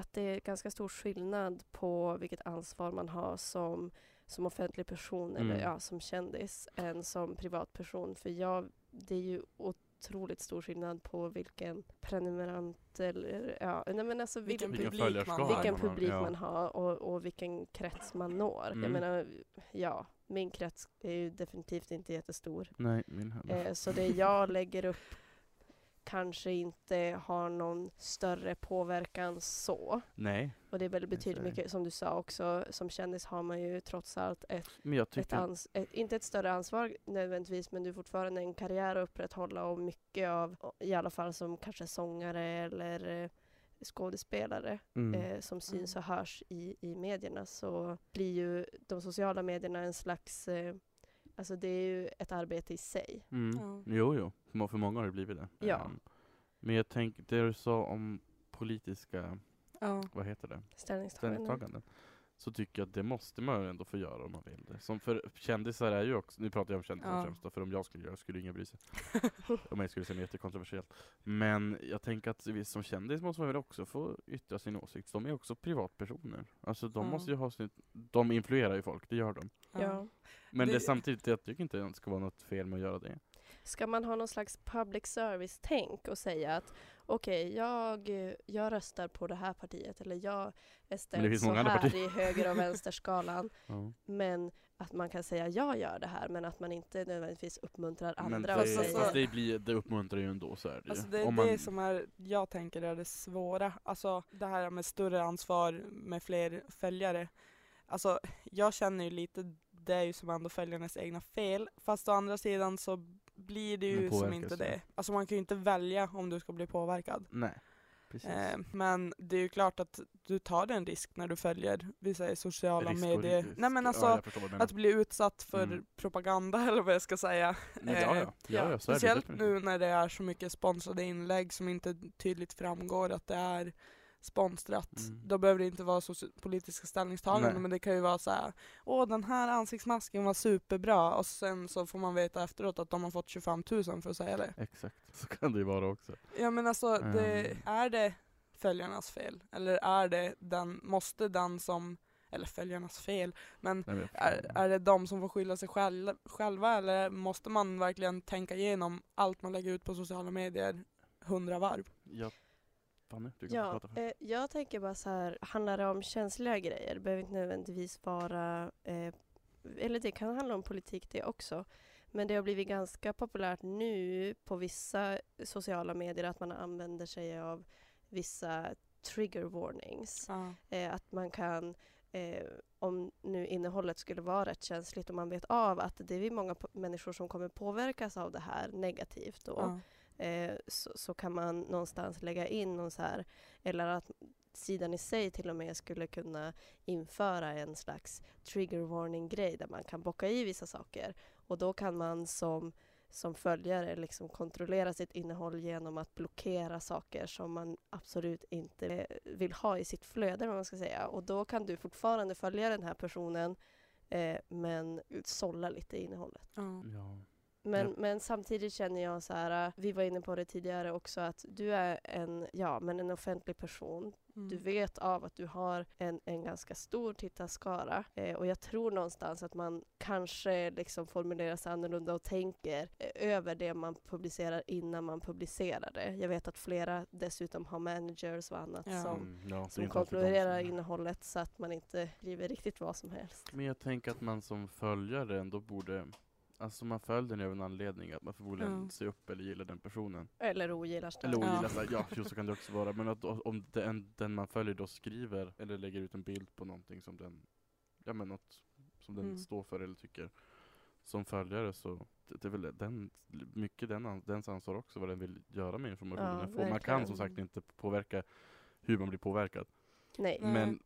Speaker 4: att det är ganska stor skillnad på vilket ansvar man har som, som offentlig person eller
Speaker 2: Mm.
Speaker 4: ja, som kändis än som privatperson. För jag, det är ju otroligt stor skillnad på vilken prenumerant eller ja, nej men alltså
Speaker 3: Vilken
Speaker 4: vilken,
Speaker 2: vilken
Speaker 3: publik man
Speaker 2: följarskara
Speaker 3: har.
Speaker 2: man
Speaker 4: vilken
Speaker 2: har.
Speaker 4: publik
Speaker 2: ja.
Speaker 4: man har och, och vilken krets man når.
Speaker 2: Mm.
Speaker 4: Jag menar, ja, min krets är ju definitivt inte jättestor.
Speaker 2: Nej, min heller.
Speaker 4: Eh, så det jag lägger upp kanske inte har någon större påverkan så.
Speaker 2: Nej,
Speaker 4: Och det är väl
Speaker 2: så är
Speaker 4: betydligt
Speaker 2: det.
Speaker 4: mycket, som du sa också, som kändis har man ju trots allt ett,
Speaker 2: men jag
Speaker 4: ett,
Speaker 2: tycker...
Speaker 4: ans- ett inte ett större ansvar nödvändigtvis, men du har fortfarande en karriär att upprätthålla och mycket av, i alla fall som kanske sångare eller eh, skådespelare
Speaker 2: mm.
Speaker 4: eh, som syns och hörs i, i medierna så blir ju de sociala medierna en slags, eh, alltså det är ju ett arbete i sig.
Speaker 2: Mm.
Speaker 3: Ja.
Speaker 2: Jo, jo. För må- För många har det blivit det.
Speaker 4: Ja.
Speaker 2: Ehm, men jag tänker, det du sa om politiska,
Speaker 3: Ja.
Speaker 2: vad heter det,
Speaker 4: Ställningstaganden.
Speaker 2: ställningstaganden. Så tycker jag att det måste man ju ändå få göra om man vill det. Som för kändisar är ju också, nu pratar jag om kändisar
Speaker 3: Ja.
Speaker 2: främst då, för om jag skulle göra det skulle ingen bry sig. om jag skulle säga något jättekontroversiellt. Men jag tänker att vi som kändis måste man väl också få yttra sin åsikt. De är också privatpersoner. Alltså de
Speaker 3: Ja.
Speaker 2: måste ju ha sin, de influerar ju folk, det gör de.
Speaker 3: Ja.
Speaker 4: Ja.
Speaker 2: Men det,
Speaker 3: Det-
Speaker 2: samtidigt, jag tycker inte att det ska vara något fel med att göra det.
Speaker 4: Ska man ha någon slags public service-tänk och säga att okej, jag, jag röstar på det här partiet eller jag är ställd
Speaker 2: finns
Speaker 4: så
Speaker 2: många andra
Speaker 4: här
Speaker 2: partier.
Speaker 4: i höger och vänsterskalan.
Speaker 2: Ja.
Speaker 4: Men att man kan säga jag gör det här men att man inte nödvändigtvis uppmuntrar
Speaker 2: Men
Speaker 4: andra
Speaker 2: det,
Speaker 4: att
Speaker 3: Fast
Speaker 4: säga.
Speaker 3: alltså-
Speaker 2: fast det, blir, det uppmuntrar ju ändå så är det, ju.
Speaker 3: Alltså det är
Speaker 2: Om man-
Speaker 3: det som är, jag tänker är det svåra. Alltså det här med större ansvar med fler följare. Alltså jag känner ju lite, det är ju som ändå följarnas egna fel. Fast å andra sidan så blir det
Speaker 2: Men
Speaker 3: ju som
Speaker 2: påverkas
Speaker 3: inte
Speaker 2: det.
Speaker 3: det. Alltså man kan ju inte välja om du ska bli påverkad.
Speaker 2: Nej, precis.
Speaker 3: Eh, men det är ju klart att du tar en risk när du följer, vi säger sociala
Speaker 2: Risk och
Speaker 3: medier.
Speaker 2: risk.
Speaker 3: Nej men alltså,
Speaker 2: ja, jag förstår vad du menar.
Speaker 3: att bli utsatt för
Speaker 2: Mm.
Speaker 3: propaganda eller vad jag ska säga.
Speaker 2: Nej, ja, ja. ja, ja, så är det
Speaker 3: Eh, Speciellt
Speaker 2: definitivt.
Speaker 3: nu när det är så mycket sponsrade inlägg som inte tydligt framgår att det är sponsrat.
Speaker 2: Mm.
Speaker 3: Då behöver det inte vara så politiska ställningstaganden
Speaker 2: Nej.
Speaker 3: men det kan ju vara så här. åh den här ansiktsmasken var superbra och sen så får man veta efteråt att de har fått 25 000 för att säga det.
Speaker 2: Exakt, så kan det ju vara också.
Speaker 3: Ja men alltså, det,
Speaker 2: Ehm.
Speaker 3: är det följarnas fel? Eller är det den, måste den som, eller följarnas fel, men
Speaker 2: Nej, men jag förstår
Speaker 3: är,
Speaker 2: det.
Speaker 3: är det de som får skylla sig själ- själva eller måste man verkligen tänka igenom allt man lägger ut på sociala medier hundra varv?
Speaker 2: Ja. Fanny, du kan
Speaker 4: Ja,
Speaker 2: prata först.
Speaker 4: eh, jag tänker bara så här, handlar det om känsliga grejer? Det behöver inte nödvändigtvis vara, eh, eller det kan handla om politik det också. Men det har blivit ganska populärt nu på vissa sociala medier att man använder sig av vissa trigger warnings.
Speaker 3: Ja.
Speaker 4: Eh, att man kan, eh, om nu innehållet skulle vara rätt känsligt och man vet av att det är många po- människor som kommer påverkas av det här negativt då
Speaker 3: Ja.
Speaker 4: eh, så, så kan man någonstans lägga in någon så här, eller att sidan i sig till och med skulle kunna införa en slags trigger warning grej där man kan bocka i vissa saker och då kan man som som följare liksom kontrollera sitt innehåll genom att blockera saker som man absolut inte eh, vill ha i sitt flöde eller vad man ska säga. Och då kan du fortfarande följa den här personen eh, men sålla lite i innehållet.
Speaker 3: Ja.
Speaker 2: Ja.
Speaker 4: Men,
Speaker 2: Ja.
Speaker 4: men samtidigt känner jag så här, äh, vi var inne på det tidigare också, att du är en, ja, men en offentlig person.
Speaker 3: Mm.
Speaker 4: Du vet av att du har en, en ganska stor tittarskara eh, och jag tror någonstans att man kanske liksom formulerar sig annorlunda och tänker eh, över det man publicerar innan man publicerar det. Jag vet att flera dessutom har managers och annat
Speaker 3: Ja.
Speaker 4: som,
Speaker 2: Mm, ja, det är inte
Speaker 4: som
Speaker 2: alltid de
Speaker 4: kontrollerar
Speaker 2: som-
Speaker 4: innehållet så att man inte skriver riktigt vad som helst.
Speaker 2: Men jag tänker att man som följare ändå borde Alltså man följer den ju av en anledning, att man förmodligen
Speaker 3: Ja.
Speaker 2: ser upp eller gillar den personen.
Speaker 4: Eller ogillar
Speaker 2: Eller
Speaker 4: större.
Speaker 3: Ja.
Speaker 2: ogillar, ja. ja jo, så kan det också vara. Men att o- om den, den man följer då skriver eller lägger ut en bild på någonting som den, ja men något som den
Speaker 3: Mm.
Speaker 2: står för eller tycker. Som följare så, det, det är väl den, mycket den, an- dens ansvar också vad den vill göra med informationen
Speaker 4: Ja,
Speaker 2: den får. Man kan som
Speaker 4: verkligen.
Speaker 3: Mm.
Speaker 2: sagt inte påverka hur man blir påverkad.
Speaker 4: Nej.
Speaker 3: Nej.
Speaker 2: Men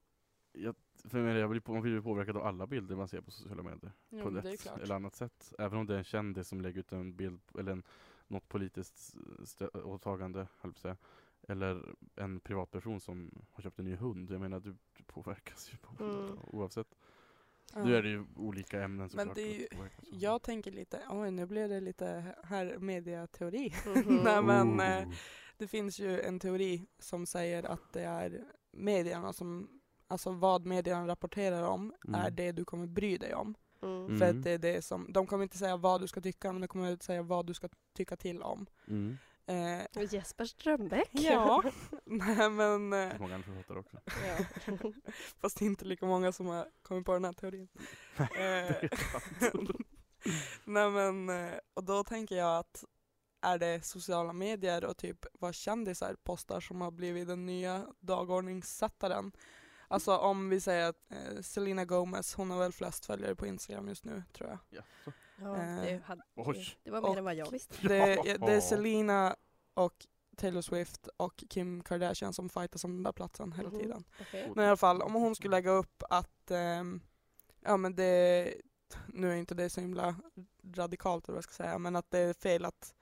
Speaker 2: jag för mig, jag blir på, man blir ju påverkad av alla bilder man ser på sociala medier.
Speaker 3: Jo,
Speaker 2: på
Speaker 3: men Mm, det är
Speaker 2: ett
Speaker 3: klart.
Speaker 2: eller annat sätt. Även om det är en kändis som lägger ut en bild eller en, något politiskt stö- åtagande, höll jag på att säga. Eller en privatperson som har köpt en ny hund. Jag menar, du, du påverkas ju på
Speaker 4: Mm.
Speaker 2: oavsett.
Speaker 3: Ja.
Speaker 2: Nu är det ju olika ämnen såklart.
Speaker 3: det är ju-
Speaker 2: att påverkas av.
Speaker 3: Jag tänker lite, oj nu blev det lite här mediateori.
Speaker 4: Mhm.
Speaker 3: Nej, men, eh,
Speaker 2: Ooh.
Speaker 3: Det finns ju en teori som säger att det är medierna som, alltså vad medierna rapporterar om
Speaker 2: Mm.
Speaker 3: är det du kommer bry dig om.
Speaker 4: Mm.
Speaker 2: Mm.
Speaker 3: För att det är det som, de kommer inte säga vad du ska tycka, men de kommer säga vad du ska tycka till om.
Speaker 2: Mm.
Speaker 3: Eh,
Speaker 4: Och Jesper Strömbäck.
Speaker 3: ja, nej men,
Speaker 2: Det är
Speaker 3: eh,
Speaker 2: Många andra författare också.
Speaker 3: ja. fast det är inte lika många som har kommit på den här teorin. Eh, Nej men, eh, och då tänker jag att är det sociala medier och typ vad kändisar postar som har blivit den nya dagordningssättaren? Alltså om vi säger att eh, Selena Gomez, hon har väl flest följare på Instagram just nu tror jag.
Speaker 2: Ja, så.
Speaker 4: Ja,
Speaker 3: Eh,
Speaker 4: det, hade,
Speaker 2: Oj!
Speaker 4: det var mer
Speaker 3: och-
Speaker 4: än vad jag visste.
Speaker 3: Det, det är
Speaker 2: Ja.
Speaker 3: Selena och Taylor Swift och Kim Kardashian som fightas om den där platsen hela
Speaker 4: Mhm.
Speaker 3: tiden.
Speaker 2: Mm.
Speaker 4: Okej.
Speaker 3: Men i alla fall, om hon skulle lägga upp att, ehm, ja men det, nu är inte det så himla radikalt eller vad jag ska säga, men att det är fel att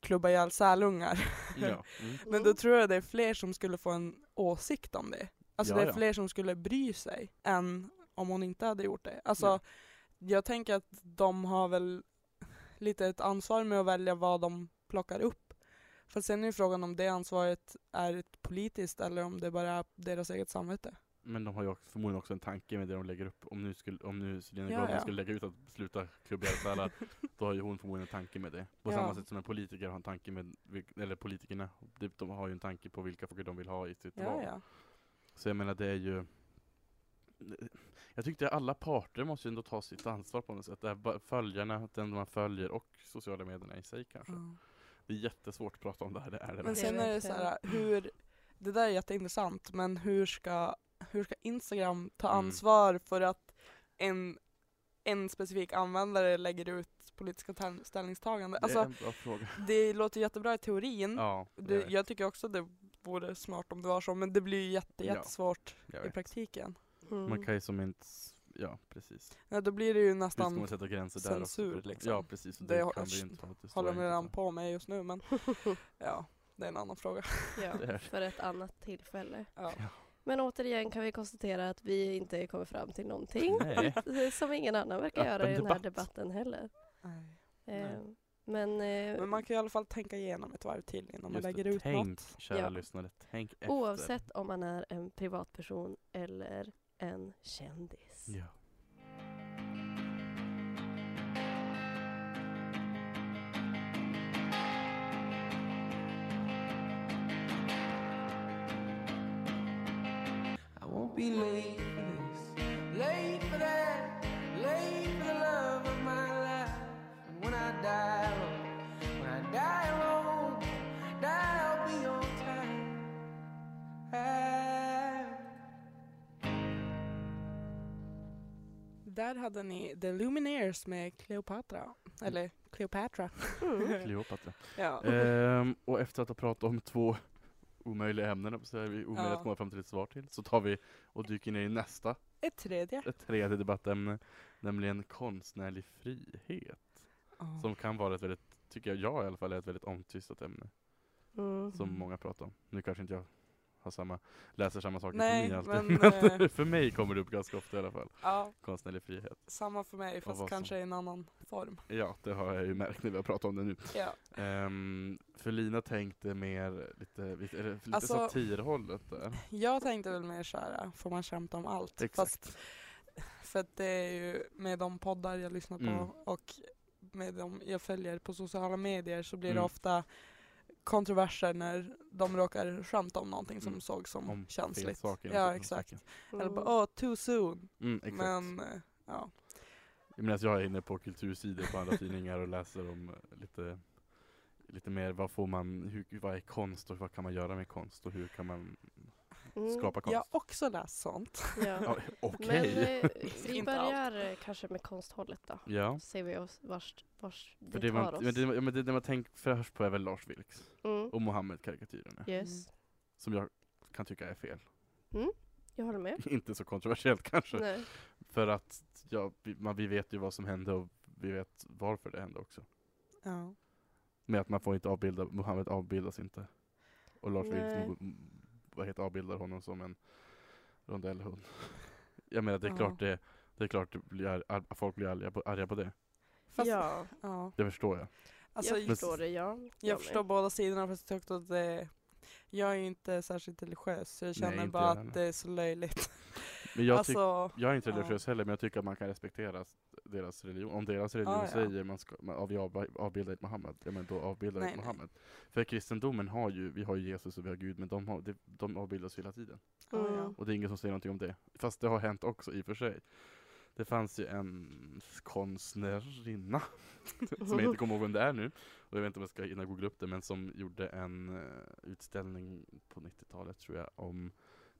Speaker 3: klubba ihjäl sälungar.
Speaker 2: Ja. Mm.
Speaker 3: Men då tror jag det är fler som skulle få en åsikt om det. Alltså
Speaker 2: Ja,
Speaker 3: det är
Speaker 2: ja.
Speaker 3: fler som skulle bry sig än om hon inte hade gjort det. Alltså
Speaker 2: Ja.
Speaker 3: jag tänker att de har väl lite ett ansvar med att välja vad de plockar upp. För sen är ju frågan om det ansvaret är ett politiskt eller om det bara är deras eget samvete.
Speaker 2: Men de har ju också, förmodligen också en tanke med det de lägger upp. Om nu, skulle, om nu Selena
Speaker 3: Ja,
Speaker 2: Gomez
Speaker 3: ja.
Speaker 2: skulle lägga ut att sluta klubba ihjäl då har ju hon förmodligen en tanke med det. På
Speaker 3: Ja.
Speaker 2: samma sätt som en politiker har en tanke med, vilk- eller politikerna, de, de har ju en tanke på vilka frågor de vill ha i sitt
Speaker 3: Ja,
Speaker 2: val.
Speaker 3: ja.
Speaker 2: Så jag menar det är ju jag tyckte alla parter måste ju ändå ta sitt ansvar på något sätt. Det är bara följarna, den man följer och sociala medierna i sig kanske. Det är jättesvårt att prata om det här, det är det.
Speaker 3: Men
Speaker 2: verkligen.
Speaker 3: sen är det så här, hur, det där är jätteintressant, men hur ska, hur ska Instagram ta
Speaker 2: Mm.
Speaker 3: ansvar för att en, en specifik användare lägger ut politiska tä- ställningstaganden?
Speaker 2: det är
Speaker 3: Alltså, Mm.
Speaker 2: en bra fråga.
Speaker 3: det låter jättebra i teorin.
Speaker 2: Ja,
Speaker 3: Det,
Speaker 2: jag vet,
Speaker 3: jag tycker också det vore smart om det var så, men det blir ju
Speaker 2: Ja,
Speaker 3: jätte, jättesvårt
Speaker 2: jag
Speaker 3: i
Speaker 2: vet.
Speaker 3: praktiken.
Speaker 4: Mm.
Speaker 2: Man kan ju som inte, ja precis.
Speaker 3: Ja, då blir det ju
Speaker 2: Hur ska man
Speaker 3: nästan,
Speaker 2: sätta gränser där också?
Speaker 3: censur, liksom.
Speaker 2: Ja precis, och
Speaker 3: Det
Speaker 2: det,
Speaker 3: har-
Speaker 2: kan vi ju inte ha det är så
Speaker 3: håller de
Speaker 2: enkelt,
Speaker 3: redan
Speaker 2: va?
Speaker 3: på med just nu, men ja, det är en annan fråga.
Speaker 2: Det
Speaker 4: ja,
Speaker 2: är-
Speaker 4: för ett annat tillfälle.
Speaker 3: Ja.
Speaker 4: Men återigen kan vi konstatera att vi inte kommer fram till någonting. Eh,
Speaker 2: Nej.
Speaker 4: Som ingen annan verkar
Speaker 2: Öppen
Speaker 4: göra i den här
Speaker 2: debatt.
Speaker 4: debatten heller. Eh,
Speaker 3: Nej.
Speaker 4: men eh,
Speaker 3: Men man kan i alla fall tänka igenom ett varv till innan man
Speaker 2: Just
Speaker 3: lägger
Speaker 2: det,
Speaker 3: ut
Speaker 2: tänk,
Speaker 3: något.
Speaker 2: kära
Speaker 4: Ja.
Speaker 2: lyssnare, tänk efter.
Speaker 4: oavsett om man är en privatperson eller en kändis.
Speaker 2: Ja.
Speaker 5: I won't be late for this, late for that, late for the love of my life. And when I die, alone, when I die alone, die I'll be on time. Ah.
Speaker 3: Där hade ni The Lumineers med Cleopatra. Eller Cleopatra.
Speaker 2: Kleopatra.
Speaker 3: Ja.
Speaker 2: Ehm, och efter att ha pratat om två omöjliga ämnen, så är vi omöjliga
Speaker 3: Ja.
Speaker 2: att komma fram till ett svar till, så tar vi och dyker ner i nästa,
Speaker 3: Ett tredje.
Speaker 2: ett tredje debattämne, nämligen konstnärlig frihet.
Speaker 3: Ja.
Speaker 2: Som kan vara ett väldigt, tycker jag, jag i alla fall, är ett väldigt omtvistat ämne,
Speaker 4: Mm.
Speaker 2: som många pratar om. Nu kanske inte jag har samma, läser samma saker
Speaker 3: Nej,
Speaker 2: som ni alltid,
Speaker 3: men,
Speaker 2: men,
Speaker 3: eh,
Speaker 2: för mig kommer det upp ganska ofta i alla fall,
Speaker 3: ja,
Speaker 2: konstnärlig frihet.
Speaker 3: samma för mig fast
Speaker 2: vad som-
Speaker 3: kanske i en annan form.
Speaker 2: Ja, det har jag ju märkt när vi har pratat om det nu.
Speaker 3: Ja.
Speaker 2: Ehm, för Lina tänkte mer lite, lite, eller lite
Speaker 3: Alltså-
Speaker 2: satirhållet där.
Speaker 3: Jag tänkte väl mer såhär, får man skämta om allt? Fast, för att det är ju med de poddar jag lyssnar på
Speaker 2: Mm.
Speaker 3: och med de jag följer på sociala medier så blir det
Speaker 2: Mm.
Speaker 3: ofta kontroverser när de råkar skämta om någonting som
Speaker 2: Mm.
Speaker 3: sågs som
Speaker 2: om fel
Speaker 3: känsligt.
Speaker 2: saker.
Speaker 3: Ja,
Speaker 2: om
Speaker 3: exakt.
Speaker 2: saker.
Speaker 3: Eller bara, åh, too soon.
Speaker 2: Mm, exakt. Men...
Speaker 3: Men, eh, ja.
Speaker 2: Jag, menar, jag är inne på kultursidor på andra tidningar och läser om eh, lite, lite mer, vad får man, hur, vad är konst och vad kan man göra med konst och hur kan man
Speaker 4: Mm.
Speaker 2: skapa konst?
Speaker 3: Jag har också läst sånt.
Speaker 4: Ja.
Speaker 2: Ja,
Speaker 4: Men
Speaker 2: Okej.
Speaker 4: eh, vi
Speaker 3: Inte allt.
Speaker 4: börjar eh, kanske med konsthållet då.
Speaker 2: Ja.
Speaker 4: ser vi oss vars, vars
Speaker 2: För
Speaker 4: det,
Speaker 2: det,
Speaker 4: tar
Speaker 2: man,
Speaker 4: oss.
Speaker 2: men det, men det, det man tänker först på är väl Lars Vilks
Speaker 4: Mm.
Speaker 3: Mm.
Speaker 2: och Mohammed-karikatyrerna.
Speaker 4: Yes.
Speaker 2: Som jag kan tycka är fel.
Speaker 4: Mm. Jag håller med.
Speaker 2: Inte så kontroversiellt kanske.
Speaker 4: Nej.
Speaker 2: För att ja, vi, man, vi vet ju vad som hände och vi vet varför det hände också.
Speaker 3: Ja.
Speaker 2: Med att man får inte avbilda, Mohammed avbildas inte. Och Lars
Speaker 4: Nej.
Speaker 2: Vilks vad heter avbildar honom som en rondellhund. Jag menar det är
Speaker 3: Ja.
Speaker 2: klart det, det är klart det blir, ar- folk blir arga på, arga på det.
Speaker 3: Fast, ja.
Speaker 4: ja,
Speaker 2: Det förstår jag.
Speaker 3: Alltså,
Speaker 4: jag
Speaker 3: jag,
Speaker 4: förstår det. Ja.
Speaker 3: jag
Speaker 4: med.
Speaker 3: förstår båda sidorna fast jag tyckte att det, jag är ju inte särskilt religiös så jag känner
Speaker 2: inte
Speaker 3: bara
Speaker 2: jag heller.
Speaker 3: att det är så löjligt.
Speaker 2: Men jag, tyck,
Speaker 3: alltså,
Speaker 2: jag är inte
Speaker 3: ja.
Speaker 2: religiös heller men jag tycker att man kan respektera s- deras religion. Om deras religion
Speaker 3: ja.
Speaker 2: säger man ska, man, av, jag avbildar ett Mohammed, ja men då avbildar
Speaker 3: Nej,
Speaker 2: ett
Speaker 3: nej.
Speaker 2: Mohammed. För kristendomen har ju, vi har ju Jesus och vi har Gud men de, har, de, de avbildas ju hela tiden.
Speaker 3: ja, ja.
Speaker 4: Mm.
Speaker 2: Och det är ingen som säger någonting om det. Fast det har hänt också i och för sig. Det fanns ju en konstnärinna, som jag inte kommer ihåg vem det är nu, och jag vet inte om jag ska hinna googla upp det, men som gjorde en eh, utställning på 90-talet tror jag, om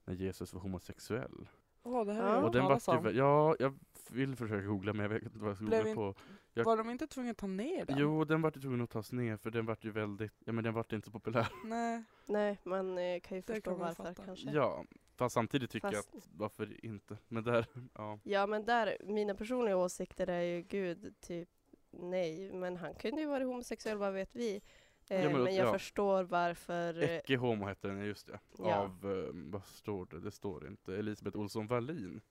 Speaker 2: när Jesus var homosexuell.
Speaker 3: Åh, det här har
Speaker 4: Ja.
Speaker 3: jag
Speaker 2: Och
Speaker 3: hört
Speaker 2: den var typ-
Speaker 3: talas om.
Speaker 2: ju, ja, jag vill försöka googla men jag vet inte vad jag ska
Speaker 3: Blev
Speaker 2: googla på. jag-
Speaker 3: Var de inte tvungna att ta ner den?
Speaker 2: Jo, den vart ju tvungen att tas ner för den vart ju väldigt, ja men den vart inte populär.
Speaker 3: Nej.
Speaker 4: Nej, man eh, kan ju
Speaker 3: Det
Speaker 4: förstå
Speaker 3: kan man
Speaker 4: varför
Speaker 3: fatta.
Speaker 4: kanske.
Speaker 2: Ja, fast samtidigt tycker
Speaker 4: Fast-
Speaker 2: jag att, varför inte? Men där, ja.
Speaker 4: Ja, men där, mina personliga åsikter är ju gud, typ nej, men han kunde ju vara homosexuell, vad vet vi? Eh,
Speaker 2: Ja, men-
Speaker 4: men, jag
Speaker 2: ja.
Speaker 4: förstår varför. eh,
Speaker 2: Ecce Homo hette den, just det.
Speaker 4: Ja.
Speaker 2: Av, eh, vad står det? Det står inte. Elisabeth Olsson Wallin.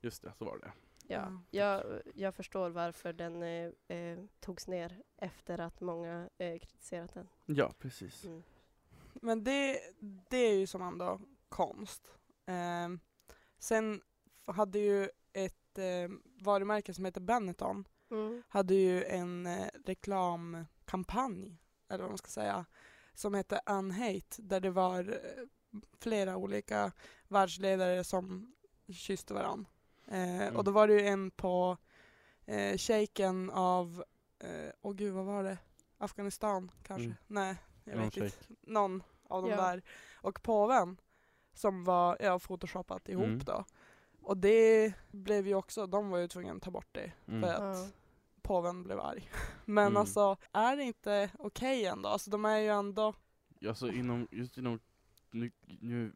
Speaker 2: Just det, så var det.
Speaker 4: Ja,
Speaker 3: Ja.
Speaker 4: jag, jag förstår varför den eh, eh, togs ner efter att många eh, kritiserat den.
Speaker 2: Ja, precis.
Speaker 4: Mm.
Speaker 3: Men det, det är ju som ändå konst. Ehm, sen hade ju ett eh, varumärke som heter Benetton
Speaker 4: Mm.
Speaker 3: hade ju en eh, reklamkampanj, eller vad man ska säga, som hette Unhate, där det var eh, flera olika världsledare som kysste varandra. Eh,
Speaker 2: Mm.
Speaker 3: Och då var det ju en på eh, shejken av, eh, åh gud vad var det? Afghanistan kanske?
Speaker 2: Mm.
Speaker 3: Nej, jag
Speaker 2: Någon
Speaker 3: vet inte.
Speaker 2: shejk.
Speaker 3: Någon av de
Speaker 4: Ja.
Speaker 3: där. Och påven, som var ja, photoshopat ihop
Speaker 2: Mm.
Speaker 3: då. Och det blev ju också, de var ju tvungna att ta bort det
Speaker 2: Mm.
Speaker 3: för
Speaker 4: Ja.
Speaker 3: att påven blev arg. Men
Speaker 2: Mm.
Speaker 3: alltså, är det inte okej ändå? Alltså de är ju ändå,
Speaker 2: Alltså inom, just inom, nu, nu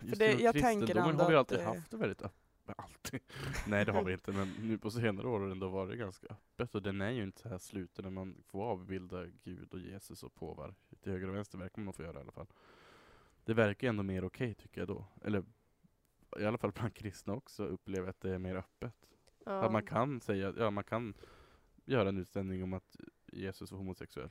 Speaker 2: just
Speaker 3: det-
Speaker 2: inom
Speaker 3: jag tänker
Speaker 2: kristendomen
Speaker 3: ändå
Speaker 2: har vi
Speaker 3: att eh,
Speaker 2: alltid
Speaker 3: det-
Speaker 2: haft det väldigt öppet. Alltid. Nej det har vi inte, men nu på senare år har det ändå varit ganska öppet och den är ju inte så här sluten när man får avbilda Gud och Jesus och påvar till höger och vänster verkar man få göra i alla fall. Det verkar ändå mer okej tycker jag då. Eller i alla fall bland kristna också upplever jag att det är mer öppet.
Speaker 4: Ja.
Speaker 2: Att man kan säga, ja man kan göra en utställning om att Jesus var homosexuell.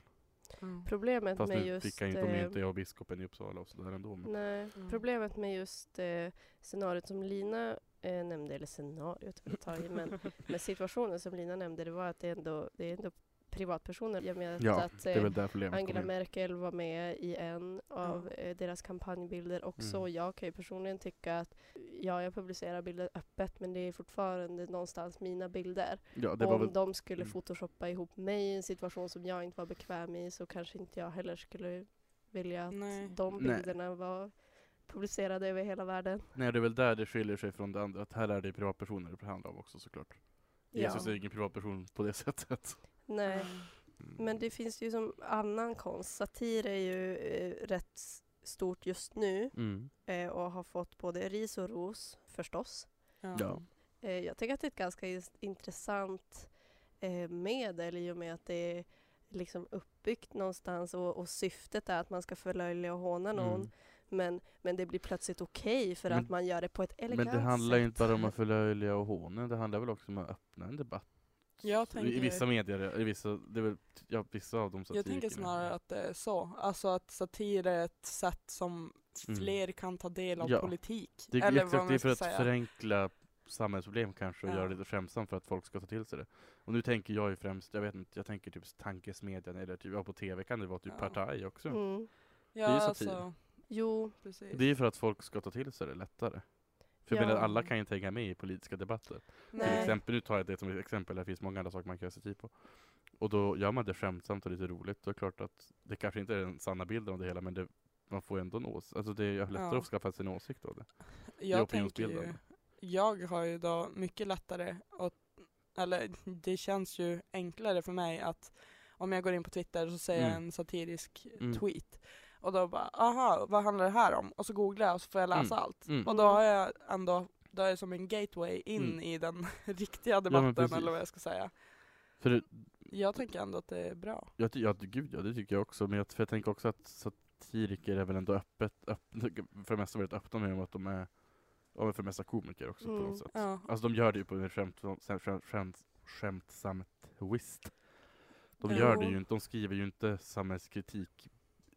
Speaker 3: Mm.
Speaker 4: Problemet
Speaker 2: Fast
Speaker 4: med
Speaker 2: nu
Speaker 4: just...
Speaker 2: fick han inte, om
Speaker 4: eh,
Speaker 2: inte jag och biskopen i Uppsala och sådär ändå. Men,
Speaker 4: Nej,
Speaker 3: Mm.
Speaker 4: problemet med just eh, scenariot som Lina eh, nämnde, eller scenariot jag tar i, men med situationen som Lina nämnde, det var att det ändå, det är ändå privatpersoner. Jag menar
Speaker 2: Ja,
Speaker 4: att
Speaker 2: det är
Speaker 4: eh,
Speaker 2: väl där problemet
Speaker 4: Angela
Speaker 2: kommer in.
Speaker 4: Merkel var med i en av eh, deras kampanjbilder också.
Speaker 2: Mm.
Speaker 4: och Jag kan ju personligen tycka att ja, jag publicerar bilder öppet men det är fortfarande någonstans mina bilder.
Speaker 2: Ja, det
Speaker 4: Och
Speaker 2: var
Speaker 4: om
Speaker 2: väl,
Speaker 4: de skulle
Speaker 2: mm.
Speaker 4: photoshoppa ihop mig i en situation som jag inte var bekväm i så kanske inte jag heller skulle vilja att
Speaker 3: Nej.
Speaker 4: de
Speaker 2: Nej.
Speaker 4: bilderna var publicerade över hela världen.
Speaker 2: nej, det är väl där det skiljer sig från det andra, att här är det privatpersoner det handlar om också såklart. Jesus är ingen privatperson på det sättet.
Speaker 4: Nej.
Speaker 3: Mm.
Speaker 2: Mm.
Speaker 4: Men det finns ju som annan konst. Satir är ju eh, rätt s- stort just nu
Speaker 2: Mm.
Speaker 4: eh, och har fått både ris och ros förstås.
Speaker 3: Ja.
Speaker 2: Ja.
Speaker 4: Eh, Jag tycker att det är ett ganska is- intressant eh, medel i och med att det är liksom uppbyggt någonstans och, och syftet är att man ska förlöjliga och håna någon.
Speaker 2: Mm.
Speaker 4: Men, men det blir plötsligt okej för
Speaker 2: Men-
Speaker 4: att man gör det på ett
Speaker 2: Men
Speaker 4: elegant
Speaker 2: det handlar ju
Speaker 4: sätt.
Speaker 2: inte bara om att förlöjliga och håna, det handlar väl också om att öppna en debatt.
Speaker 3: Jag
Speaker 2: I
Speaker 3: tänker,
Speaker 2: vissa medier, i vissa, det är väl, ja, vissa av de
Speaker 3: jag
Speaker 2: satirikerna.
Speaker 3: tänker snarare att det är så. Alltså att satir är ett sätt som
Speaker 2: Mm.
Speaker 3: fler kan ta del av
Speaker 2: Ja.
Speaker 3: politik.
Speaker 2: Det, exakt,
Speaker 3: eller vad
Speaker 2: det är för
Speaker 3: man ska
Speaker 2: att
Speaker 3: säga.
Speaker 2: förenkla samhällsproblem kanske och
Speaker 3: Ja.
Speaker 2: göra det lite skämtsamt för att folk ska ta till sig det. Och nu tänker jag ju främst, jag vet inte, jag tänker typ tankesmedjan eller typ, ja, på TV kan det vara typ
Speaker 3: Ja.
Speaker 2: Partaj också.
Speaker 4: Mm.
Speaker 3: ja,
Speaker 2: det är ju satir.
Speaker 3: Alltså,
Speaker 4: Jo,
Speaker 3: precis.
Speaker 2: Det är ju för att folk ska ta till sig det lättare. För jag
Speaker 4: Ja.
Speaker 2: menar, alla kan ju inte hänga med i politiska debatter. Till
Speaker 4: Nej.
Speaker 2: exempel, nu tar jag det som ett exempel, det finns många andra saker man kan göra satir på. Och då gör man det skämtsamt och lite roligt. Då är det klart att det kanske inte är den sanna bilden av det hela, men det, man får ju ändå en åsikt. Alltså det är ju lättare
Speaker 3: Ja.
Speaker 2: att skaffa sig en åsikt av det.
Speaker 3: jag tänker
Speaker 2: opinionsbilden.
Speaker 3: ju, jag har ju då mycket lättare att, eller det känns ju enklare för mig att om jag går in på Twitter så säger jag
Speaker 2: Mm.
Speaker 3: en satirisk
Speaker 2: Mm.
Speaker 3: tweet Och då bara, aha, vad handlar det här om? Och så googlar jag och så får jag läsa
Speaker 2: Mm.
Speaker 3: allt.
Speaker 2: Mm.
Speaker 3: Och då har jag ändå, då är det som en gateway in
Speaker 2: Mm.
Speaker 3: i den riktiga
Speaker 2: men
Speaker 3: debatten
Speaker 2: precis.
Speaker 3: eller vad jag ska säga.
Speaker 2: För det-
Speaker 3: Jag tänker ändå att det är bra.
Speaker 2: Jag, ty- ja, d- gud ja, det tycker jag också. Men jag, för jag tänker också att satiriker är väl ändå öppet, öppet för det mesta väldigt öppna med om att de är, de är för det mesta komiker också på
Speaker 4: Mm,
Speaker 2: något sätt.
Speaker 3: Ja.
Speaker 2: Alltså de gör det ju på en skämt, skämt, skämt, skämtsam twist. De
Speaker 3: Jo.
Speaker 2: gör det ju inte, de skriver ju inte samhällskritik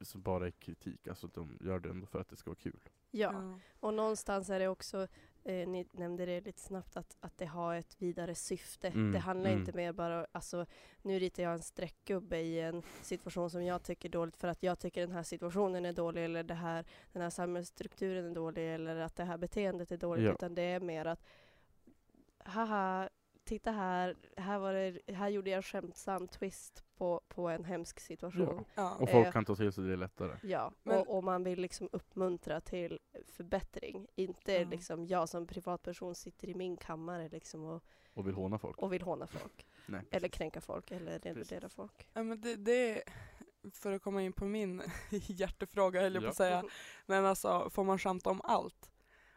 Speaker 2: som bara är kritik. Alltså de gör det ändå för att det ska vara kul.
Speaker 4: Ja. Och någonstans är det också, eh, ni nämnde det lite snabbt, att, att det har ett vidare syfte.
Speaker 2: Mm,
Speaker 4: det handlar
Speaker 2: mm.
Speaker 4: inte mer bara, alltså nu ritar jag en streckgubbe i en situation som jag tycker är dåligt för att jag tycker den här situationen är dålig eller det här, den här samhällsstrukturen är dålig eller att det här beteendet är dåligt.
Speaker 2: Ja.
Speaker 4: Utan det är mer att, haha, titta här, här, var det, här gjorde jag en skämtsam twist på, på en hemsk situation.
Speaker 3: Ja.
Speaker 2: Och
Speaker 4: Eh.
Speaker 2: folk kan ta till sig det lättare.
Speaker 4: Ja,
Speaker 3: Men-
Speaker 4: och, och man vill liksom uppmuntra till förbättring. Inte
Speaker 3: Ja.
Speaker 4: liksom jag som privatperson sitter i min kammare liksom och,
Speaker 2: Och vill håna folk.
Speaker 4: och vill håna folk.
Speaker 2: Nej,
Speaker 4: Eller
Speaker 2: precis.
Speaker 4: kränka folk eller nedvärdera folk.
Speaker 3: Ja, men det, det är, för att komma in på min hjärtefråga höll jag på att säga. Men alltså, får man skämta om allt?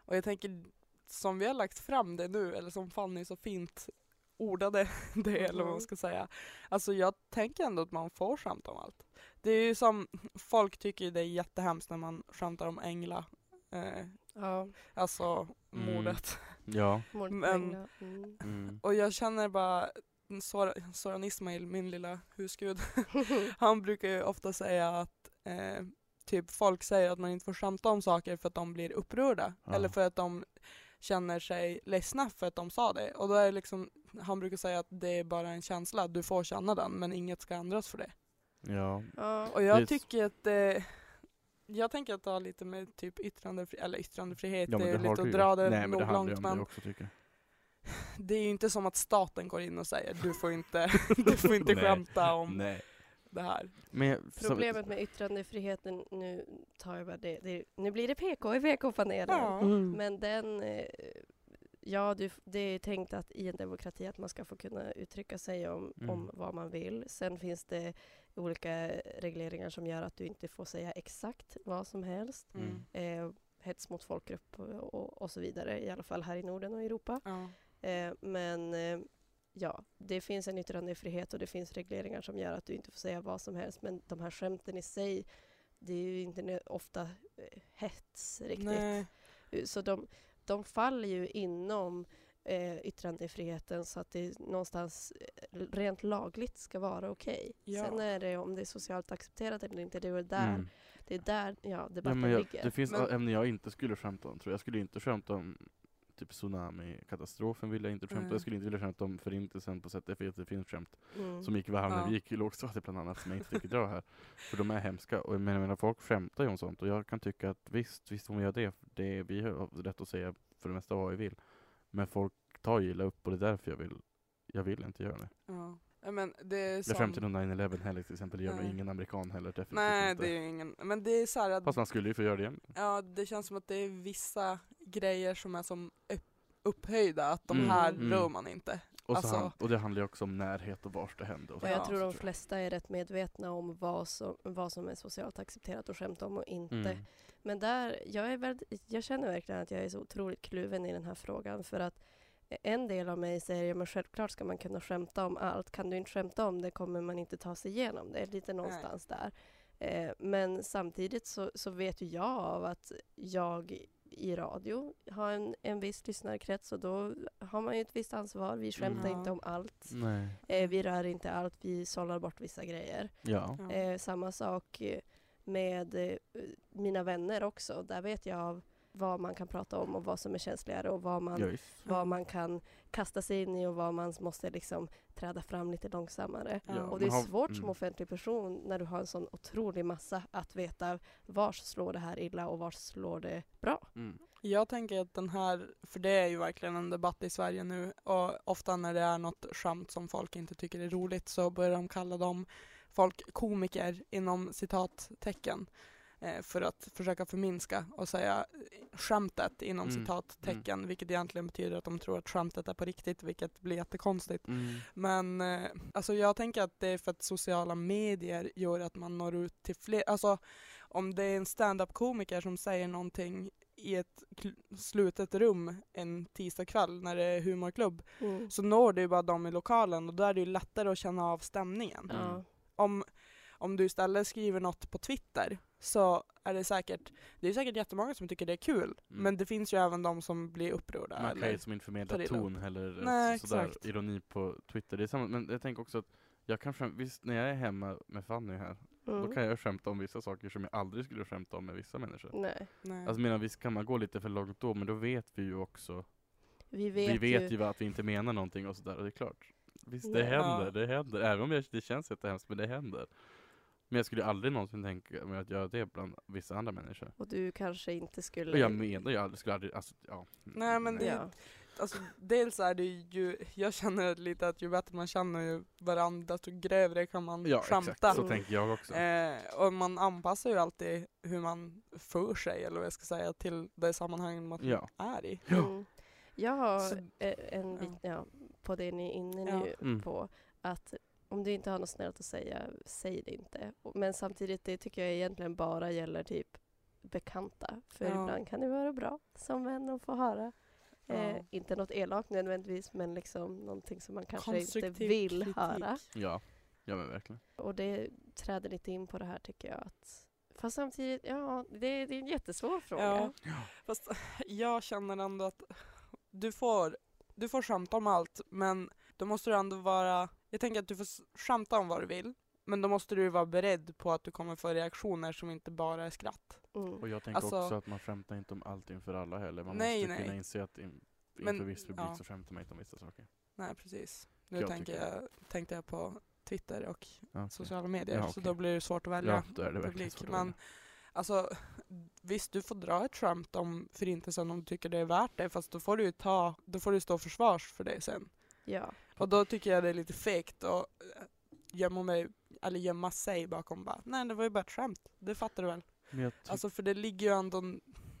Speaker 3: Och jag tänker, som vi har lagt fram det nu, eller som Fanny så fint ordade det, eller vad man
Speaker 4: Mhm.
Speaker 3: ska säga. Alltså jag tänker ändå att man får skämta om allt. Det är ju som, folk tycker ju det är jättehemskt när man skämtar om Engla, eh,
Speaker 4: Ja,
Speaker 3: alltså
Speaker 2: Mm.
Speaker 3: mordet.
Speaker 2: Ja.
Speaker 4: mordet på
Speaker 3: Men-
Speaker 4: Engla. Mm.
Speaker 2: Mm.
Speaker 3: Och jag känner bara Sor- Soran Ismail, min lilla husgud, han brukar ju ofta säga att eh, typ folk säger att man inte får skämta om saker för att de blir upprörda
Speaker 2: Ja.
Speaker 3: eller för att de känner sig ledsna för att de sa det. Och då är det liksom, han brukar säga att det är bara en känsla, du får känna den men inget ska ändras för det.
Speaker 2: Ja.
Speaker 4: Ja,
Speaker 3: Och
Speaker 2: Det är
Speaker 3: jag
Speaker 2: s-
Speaker 3: tycker att det jag tänker att det har lite med typ yttrandefrihet, eller yttrandefrihet,
Speaker 2: ja, men
Speaker 3: det är
Speaker 2: har
Speaker 3: lite
Speaker 2: du
Speaker 3: att
Speaker 2: ju.
Speaker 3: dra det
Speaker 2: Nej, men
Speaker 3: nog
Speaker 2: det handlar ju
Speaker 3: långt
Speaker 2: om det
Speaker 3: men
Speaker 2: också tycker jag.
Speaker 3: det är ju inte som att staten går in och säger du får inte, du får inte
Speaker 2: Nej.
Speaker 3: skämta om
Speaker 2: Nej.
Speaker 3: det här.
Speaker 2: Men jag- som-
Speaker 4: Problemet med yttrandefriheten, nu tar jag bara det, det nu blir det PK i PK-panelen.
Speaker 3: Ja.
Speaker 2: Mm.
Speaker 5: Mm.
Speaker 4: Men den, eh, ja du, f- det är ju tänkt att i en demokrati att man ska få kunna uttrycka sig om,
Speaker 2: Mm.
Speaker 4: om vad man vill. Sen finns det olika regleringar som gör att du inte får säga exakt vad som helst.
Speaker 2: Mm.
Speaker 4: Eh, hets mot folkgrupp och, och, och så vidare, i alla fall här i Norden och Europa.
Speaker 3: Ja.
Speaker 4: Eh, men eh, ja, det finns en yttrandefrihet och det finns regleringar som gör att du inte får säga vad som helst. Men de här skämten i sig, det är ju inte nö- ofta eh, hets riktigt.
Speaker 3: Nej.
Speaker 4: Så de, de faller ju inom eh, yttrandefriheten så att det någonstans eh, rent lagligt ska vara okej.
Speaker 3: Ja.
Speaker 4: Sen är det om det är socialt accepterat eller inte, det är väl där,
Speaker 2: Mm.
Speaker 4: det är där ja,
Speaker 2: Ja,
Speaker 4: debatten
Speaker 2: men jag,
Speaker 4: ligger.
Speaker 2: det finns
Speaker 3: Men-
Speaker 2: ämnen jag inte skulle skämta om tror jag. Jag skulle inte skämta om typ tsunamikatastrofen ville jag inte skämta
Speaker 3: Nej.
Speaker 2: Jag skulle inte vilja skämta om förintelsen på ZDF, det finns skämt
Speaker 4: Mm.
Speaker 2: som gick varm när
Speaker 3: Ja.
Speaker 2: vi gick i lågstadiet bland annat som jag inte tycker dra här. För de är hemska. Och jag menar, jag menar, folk skämtar ju om sånt och jag kan tycka att visst, visst får man göra det. för det är, vi har rätt att säga för det mesta vad vi vill. Men folk tar ju illa upp och det är därför jag vill jag vill inte göra det.
Speaker 3: Ja. Ja, Men det är
Speaker 2: Jag
Speaker 3: som,
Speaker 2: skämtar inte om 9-11 heller till exempel, det gör mig
Speaker 3: Nej.
Speaker 2: ingen amerikan heller definitivt
Speaker 3: Nej
Speaker 2: inte.
Speaker 3: det är ju ingen, men det är så här att
Speaker 2: Fast man skulle ju få göra det igen.
Speaker 3: ja, det känns som att det är vissa grejer som är som upp, upphöjda, att de
Speaker 2: Mm,
Speaker 3: här
Speaker 2: mm.
Speaker 3: rör man inte.
Speaker 2: Och,
Speaker 3: Alltså-
Speaker 2: så han, och det handlar ju också om närhet och vars det hände. Och
Speaker 4: och
Speaker 2: så-
Speaker 4: jag
Speaker 3: Ja,
Speaker 4: tror
Speaker 2: så
Speaker 4: de flesta är rätt medvetna om vad som, vad som är socialt accepterat att skämta om och inte.
Speaker 2: Mm.
Speaker 4: Men där, jag, är väldigt, jag känner verkligen att jag är så otroligt kluven i den här frågan för att en del av mig säger ja, men självklart ska man kunna skämta om allt. Kan du inte skämta om det kommer man inte ta sig igenom det. Lite någonstans där. Eh, men samtidigt så, så vet ju jag av att jag i radio har en, en viss lyssnarkrets och då har man ju ett visst ansvar. Vi skämtar
Speaker 3: Mm.
Speaker 4: inte om allt.
Speaker 2: Nej.
Speaker 4: Eh, vi rör inte allt. Vi sållar bort vissa grejer.
Speaker 2: Ja.
Speaker 3: Ja.
Speaker 4: Eh, samma sak eh, med eh, mina vänner också. Där vet jag av vad man kan prata om och vad som är känsligare och vad man,
Speaker 2: Ja, visst.
Speaker 4: vad man kan kasta sig in i och vad man måste liksom träda fram lite långsammare.
Speaker 3: Ja.
Speaker 4: Och det är
Speaker 2: man har-
Speaker 4: svårt som
Speaker 2: mm.
Speaker 4: offentlig person när du har en sån otrolig massa att veta var slår det här illa och var slår det bra.
Speaker 2: Mm.
Speaker 3: Jag tänker att den här, för det är ju verkligen en debatt i Sverige nu och ofta när det är något skämt som folk inte tycker är roligt så börjar de kalla dem folk komiker inom citattecken. eh, för att försöka förminska och säga eh, skämtet inom
Speaker 2: Mm,
Speaker 3: citattecken vilket egentligen betyder att de tror att skämtet är på riktigt vilket blir jättekonstigt.
Speaker 2: Mm.
Speaker 3: Men eh, alltså jag tänker att det är för att sociala medier gör att man når ut till fler. Alltså om det är en stand-up komiker som säger någonting i ett kl- slutet rum en tisdagkväll när det är humorklubb
Speaker 4: Mm.
Speaker 3: så når du ju bara dem i lokalen och då är det ju lättare att känna av stämningen.
Speaker 2: Mm.
Speaker 4: Ja.
Speaker 3: Om, om du istället skriver något på Twitter så är det säkert, det är säkert jättemånga som tycker det är kul men det finns ju även de som blir upprörda.
Speaker 2: Mm. Man kan ju
Speaker 3: eller,
Speaker 2: som inte
Speaker 3: tar
Speaker 2: förmedla
Speaker 3: illa upp.
Speaker 2: ton heller, eh,
Speaker 3: Nej,
Speaker 2: så, sådär
Speaker 3: exakt.
Speaker 2: ironi på Twitter. Det är samma, men jag tänker också att jag kan skäm- visst när jag är hemma med Fanny här, då
Speaker 4: Mm.
Speaker 2: kan jag skämta om vissa saker som jag aldrig skulle skämta om med vissa människor.
Speaker 4: Nej.
Speaker 3: nej.
Speaker 2: Alltså menar visst kan man gå lite för långt då, men då vet vi ju också,
Speaker 4: Vi vet,
Speaker 2: vi vet
Speaker 4: ju.
Speaker 2: ju. att vi inte menar någonting och sådär, och det är klart. Visst det
Speaker 4: Ja.
Speaker 2: händer, det händer. Även om jag, det känns jättehemskt, men det händer. Men jag skulle aldrig någonsin tänka mig att göra det bland vissa andra människor.
Speaker 4: Och du kanske inte
Speaker 2: Och
Speaker 4: skulle...
Speaker 2: jag menar ju aldrig, skulle aldrig, alltså ja.
Speaker 3: Nej, men det-
Speaker 4: ja.
Speaker 3: Alltså, dels är det ju, jag känner lite att ju bättre man känner ju varandra desto grövre kan man
Speaker 2: Ja,
Speaker 3: skämta.
Speaker 2: exakt, så tänker jag också.
Speaker 3: Eh, och man anpassar ju alltid hur man för sig, eller vad jag ska säga, till det sammanhang man
Speaker 2: Ja.
Speaker 3: är i.
Speaker 4: Mm. Jag har
Speaker 3: Så-
Speaker 4: eh, en bit ja, på det ni är inne
Speaker 3: Ja.
Speaker 4: nu
Speaker 2: Mm.
Speaker 4: på. Att om du inte har något snällt att säga, säg det inte. Och- Men samtidigt, det tycker jag egentligen bara gäller typ bekanta. För
Speaker 3: Ja.
Speaker 4: ibland kan det vara bra som vän att få höra. Eh,
Speaker 3: Ja.
Speaker 4: inte något elakt nödvändigtvis, men liksom någonting som man kanske inte
Speaker 3: Konstruktiv
Speaker 4: vill
Speaker 3: kritik.
Speaker 4: höra.
Speaker 2: Ja, ja men verkligen.
Speaker 4: Och det träder lite in på det här tycker jag. Att, fast samtidigt, ja, det, det är en jättesvår fråga.
Speaker 3: Ja. Fast jag känner ändå att du får, du får skämta om allt, men då måste du ändå vara, jag tänker att du får s- skämta om vad du vill, men då måste du vara beredd på att du kommer få reaktioner som inte bara är skratt.
Speaker 4: Mm.
Speaker 2: Och jag tänker
Speaker 3: Alltså-
Speaker 2: också att man skämtar inte om allt inför alla heller. Man
Speaker 3: Nej,
Speaker 2: måste
Speaker 3: nej.
Speaker 2: kunna inse att in, inför
Speaker 3: Men-
Speaker 2: viss publik
Speaker 3: ja.
Speaker 2: så skämtar man inte om vissa saker.
Speaker 3: Nej, precis. Nu
Speaker 2: Jag
Speaker 3: tänker
Speaker 2: tycker-
Speaker 3: jag, tänkte jag på Twitter och
Speaker 2: Okay.
Speaker 3: sociala medier
Speaker 2: Ja,
Speaker 3: så
Speaker 2: okej.
Speaker 3: då blir det svårt att välja
Speaker 2: Ja, då är det verkligen
Speaker 3: publik.
Speaker 2: svårt att
Speaker 3: men
Speaker 2: välja.
Speaker 3: alltså visst du får dra ett skämt om förintelsen om du tycker det är värt det fast då får du ju ta, då får du stå försvars för det sen.
Speaker 4: Ja.
Speaker 3: Och då tycker jag det är lite fegt att eh, gömma mig, eller gömma sig bakom bara nej det var ju bara ett skämt, det fattar du väl?
Speaker 2: Men jag tyck-
Speaker 3: Alltså för det ligger ju ändå,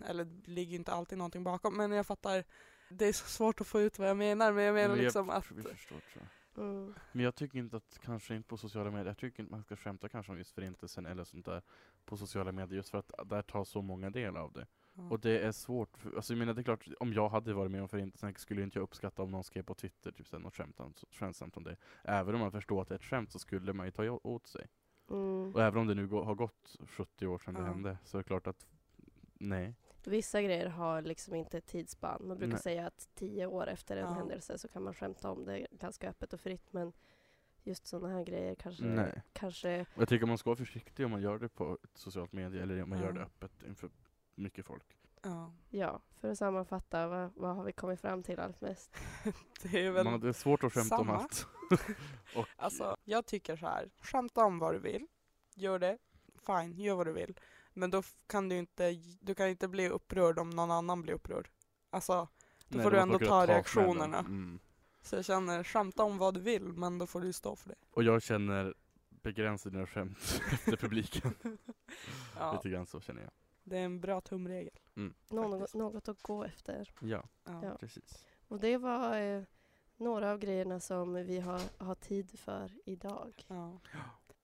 Speaker 3: eller det ligger ju inte alltid någonting bakom men jag fattar det är så svårt att få ut vad jag menar men jag menar
Speaker 2: men jag
Speaker 3: liksom
Speaker 2: tror
Speaker 3: att eh,
Speaker 2: vi förstår, tror jag.
Speaker 4: Mm.
Speaker 2: Men jag tycker inte att, kanske inte på sociala medier, jag tycker inte man ska skämta kanske om just förintelsen eller sånt där på sociala medier just för att där tar så många del av det.
Speaker 3: Ja.
Speaker 2: Och det är svårt, för, alltså jag menar det är klart, om jag hade varit med om förintelsen skulle inte jag uppskatta om någon skrev på Twitter typ såhär, något skämt om- skämtsamt om det. Även om man förstår att det är ett skämt så skulle man ju ta å- åt sig.
Speaker 4: Mm.
Speaker 2: Och även om det nu gå- har gått 70 år sedan det
Speaker 3: Ja.
Speaker 2: hände så är det klart att nej.
Speaker 4: Vissa grejer har liksom inte ett tidsspann. Man brukar
Speaker 2: Nej.
Speaker 4: säga att tio år efter en
Speaker 3: Ja.
Speaker 4: händelse så kan man skämta om det ganska öppet och fritt. Men just sådana här grejer kanske...
Speaker 2: nej.
Speaker 4: kanske
Speaker 2: Och jag tycker man ska vara försiktig om man gör det på ett socialt medie eller om man gör
Speaker 3: Ja.
Speaker 2: det öppet inför mycket folk.
Speaker 3: ja,
Speaker 4: ja, för att sammanfatta, vad, vad har vi kommit fram till allt mest?
Speaker 3: det är väl
Speaker 2: Man, det är svårt att skämta om
Speaker 3: samma.
Speaker 2: allt. Och,
Speaker 3: Alltså, jag tycker så här. Skämta om vad du vill. Gör det. Fine, gör vad du vill. Men då f- kan du inte, du kan inte bli upprörd om någon annan blir upprörd. Alltså, då
Speaker 2: nej,
Speaker 3: får du
Speaker 2: måste
Speaker 3: ändå
Speaker 2: man kunna
Speaker 3: ta
Speaker 2: smällen.
Speaker 3: reaktionerna.
Speaker 2: Mm.
Speaker 3: så jag känner, skämta om vad du vill, men då får du stå för det.
Speaker 2: Och jag känner begränsa dina skämt efter publiken.
Speaker 3: Ja,
Speaker 2: Lite grann så känner jag.
Speaker 3: det är en bra tumregel.
Speaker 4: Något,
Speaker 3: Faktiskt.
Speaker 4: något att gå efter.
Speaker 2: Ja,
Speaker 3: Ja.
Speaker 4: Ja.
Speaker 2: precis.
Speaker 4: Och det var eh, några av grejerna som vi har, har tid för idag.
Speaker 3: Ja.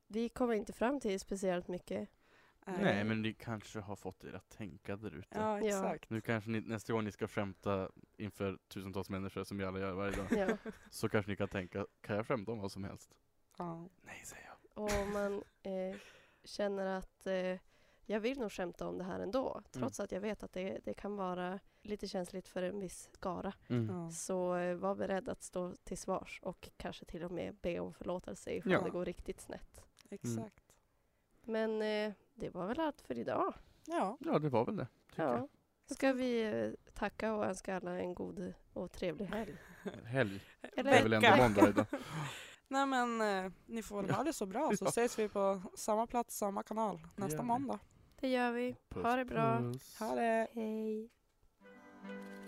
Speaker 4: Vi kommer inte fram till speciellt mycket.
Speaker 3: Eh,
Speaker 2: Nej, men ni kanske har fått er att tänka där ute.
Speaker 3: Ja,
Speaker 4: Ja.
Speaker 3: exakt.
Speaker 2: Nu kanske ni, nästa gång ni ska skämta inför tusentals människor som vi alla gör varje dag,
Speaker 4: Ja.
Speaker 2: så kanske ni kan tänka, kan jag skämta om vad som helst?
Speaker 3: Ja.
Speaker 2: Nej, säger jag.
Speaker 4: Och om man eh, känner att eh, jag vill nog skämta om det här ändå,
Speaker 2: Mm.
Speaker 4: trots att jag vet att det, det kan vara lite känsligt för en viss skara.
Speaker 2: Mm.
Speaker 3: Ja.
Speaker 4: Så eh, var beredd att stå till svars och kanske till och med be om förlåtelse ifall
Speaker 2: Ja.
Speaker 4: det går riktigt snett.
Speaker 3: Exakt.
Speaker 4: Men eh, det var väl allt för idag.
Speaker 3: Ja.
Speaker 2: Ja, det var väl det. Tycker
Speaker 4: Ja. Ska vi eh, tacka och önska alla en god och
Speaker 2: Eh,
Speaker 4: trevlig helg?
Speaker 2: jag. Helg.
Speaker 4: Eller-
Speaker 2: Det är väl ändå måndag idag.
Speaker 3: Nej men, eh, ni får väl ha det så bra, så
Speaker 2: Ja.
Speaker 3: ses vi på samma plats, samma kanal nästa
Speaker 2: gör vi.
Speaker 3: måndag.
Speaker 4: Det gör vi.
Speaker 2: Puss,
Speaker 4: Ha det bra.
Speaker 2: puss.
Speaker 3: Ha det!
Speaker 4: Hej.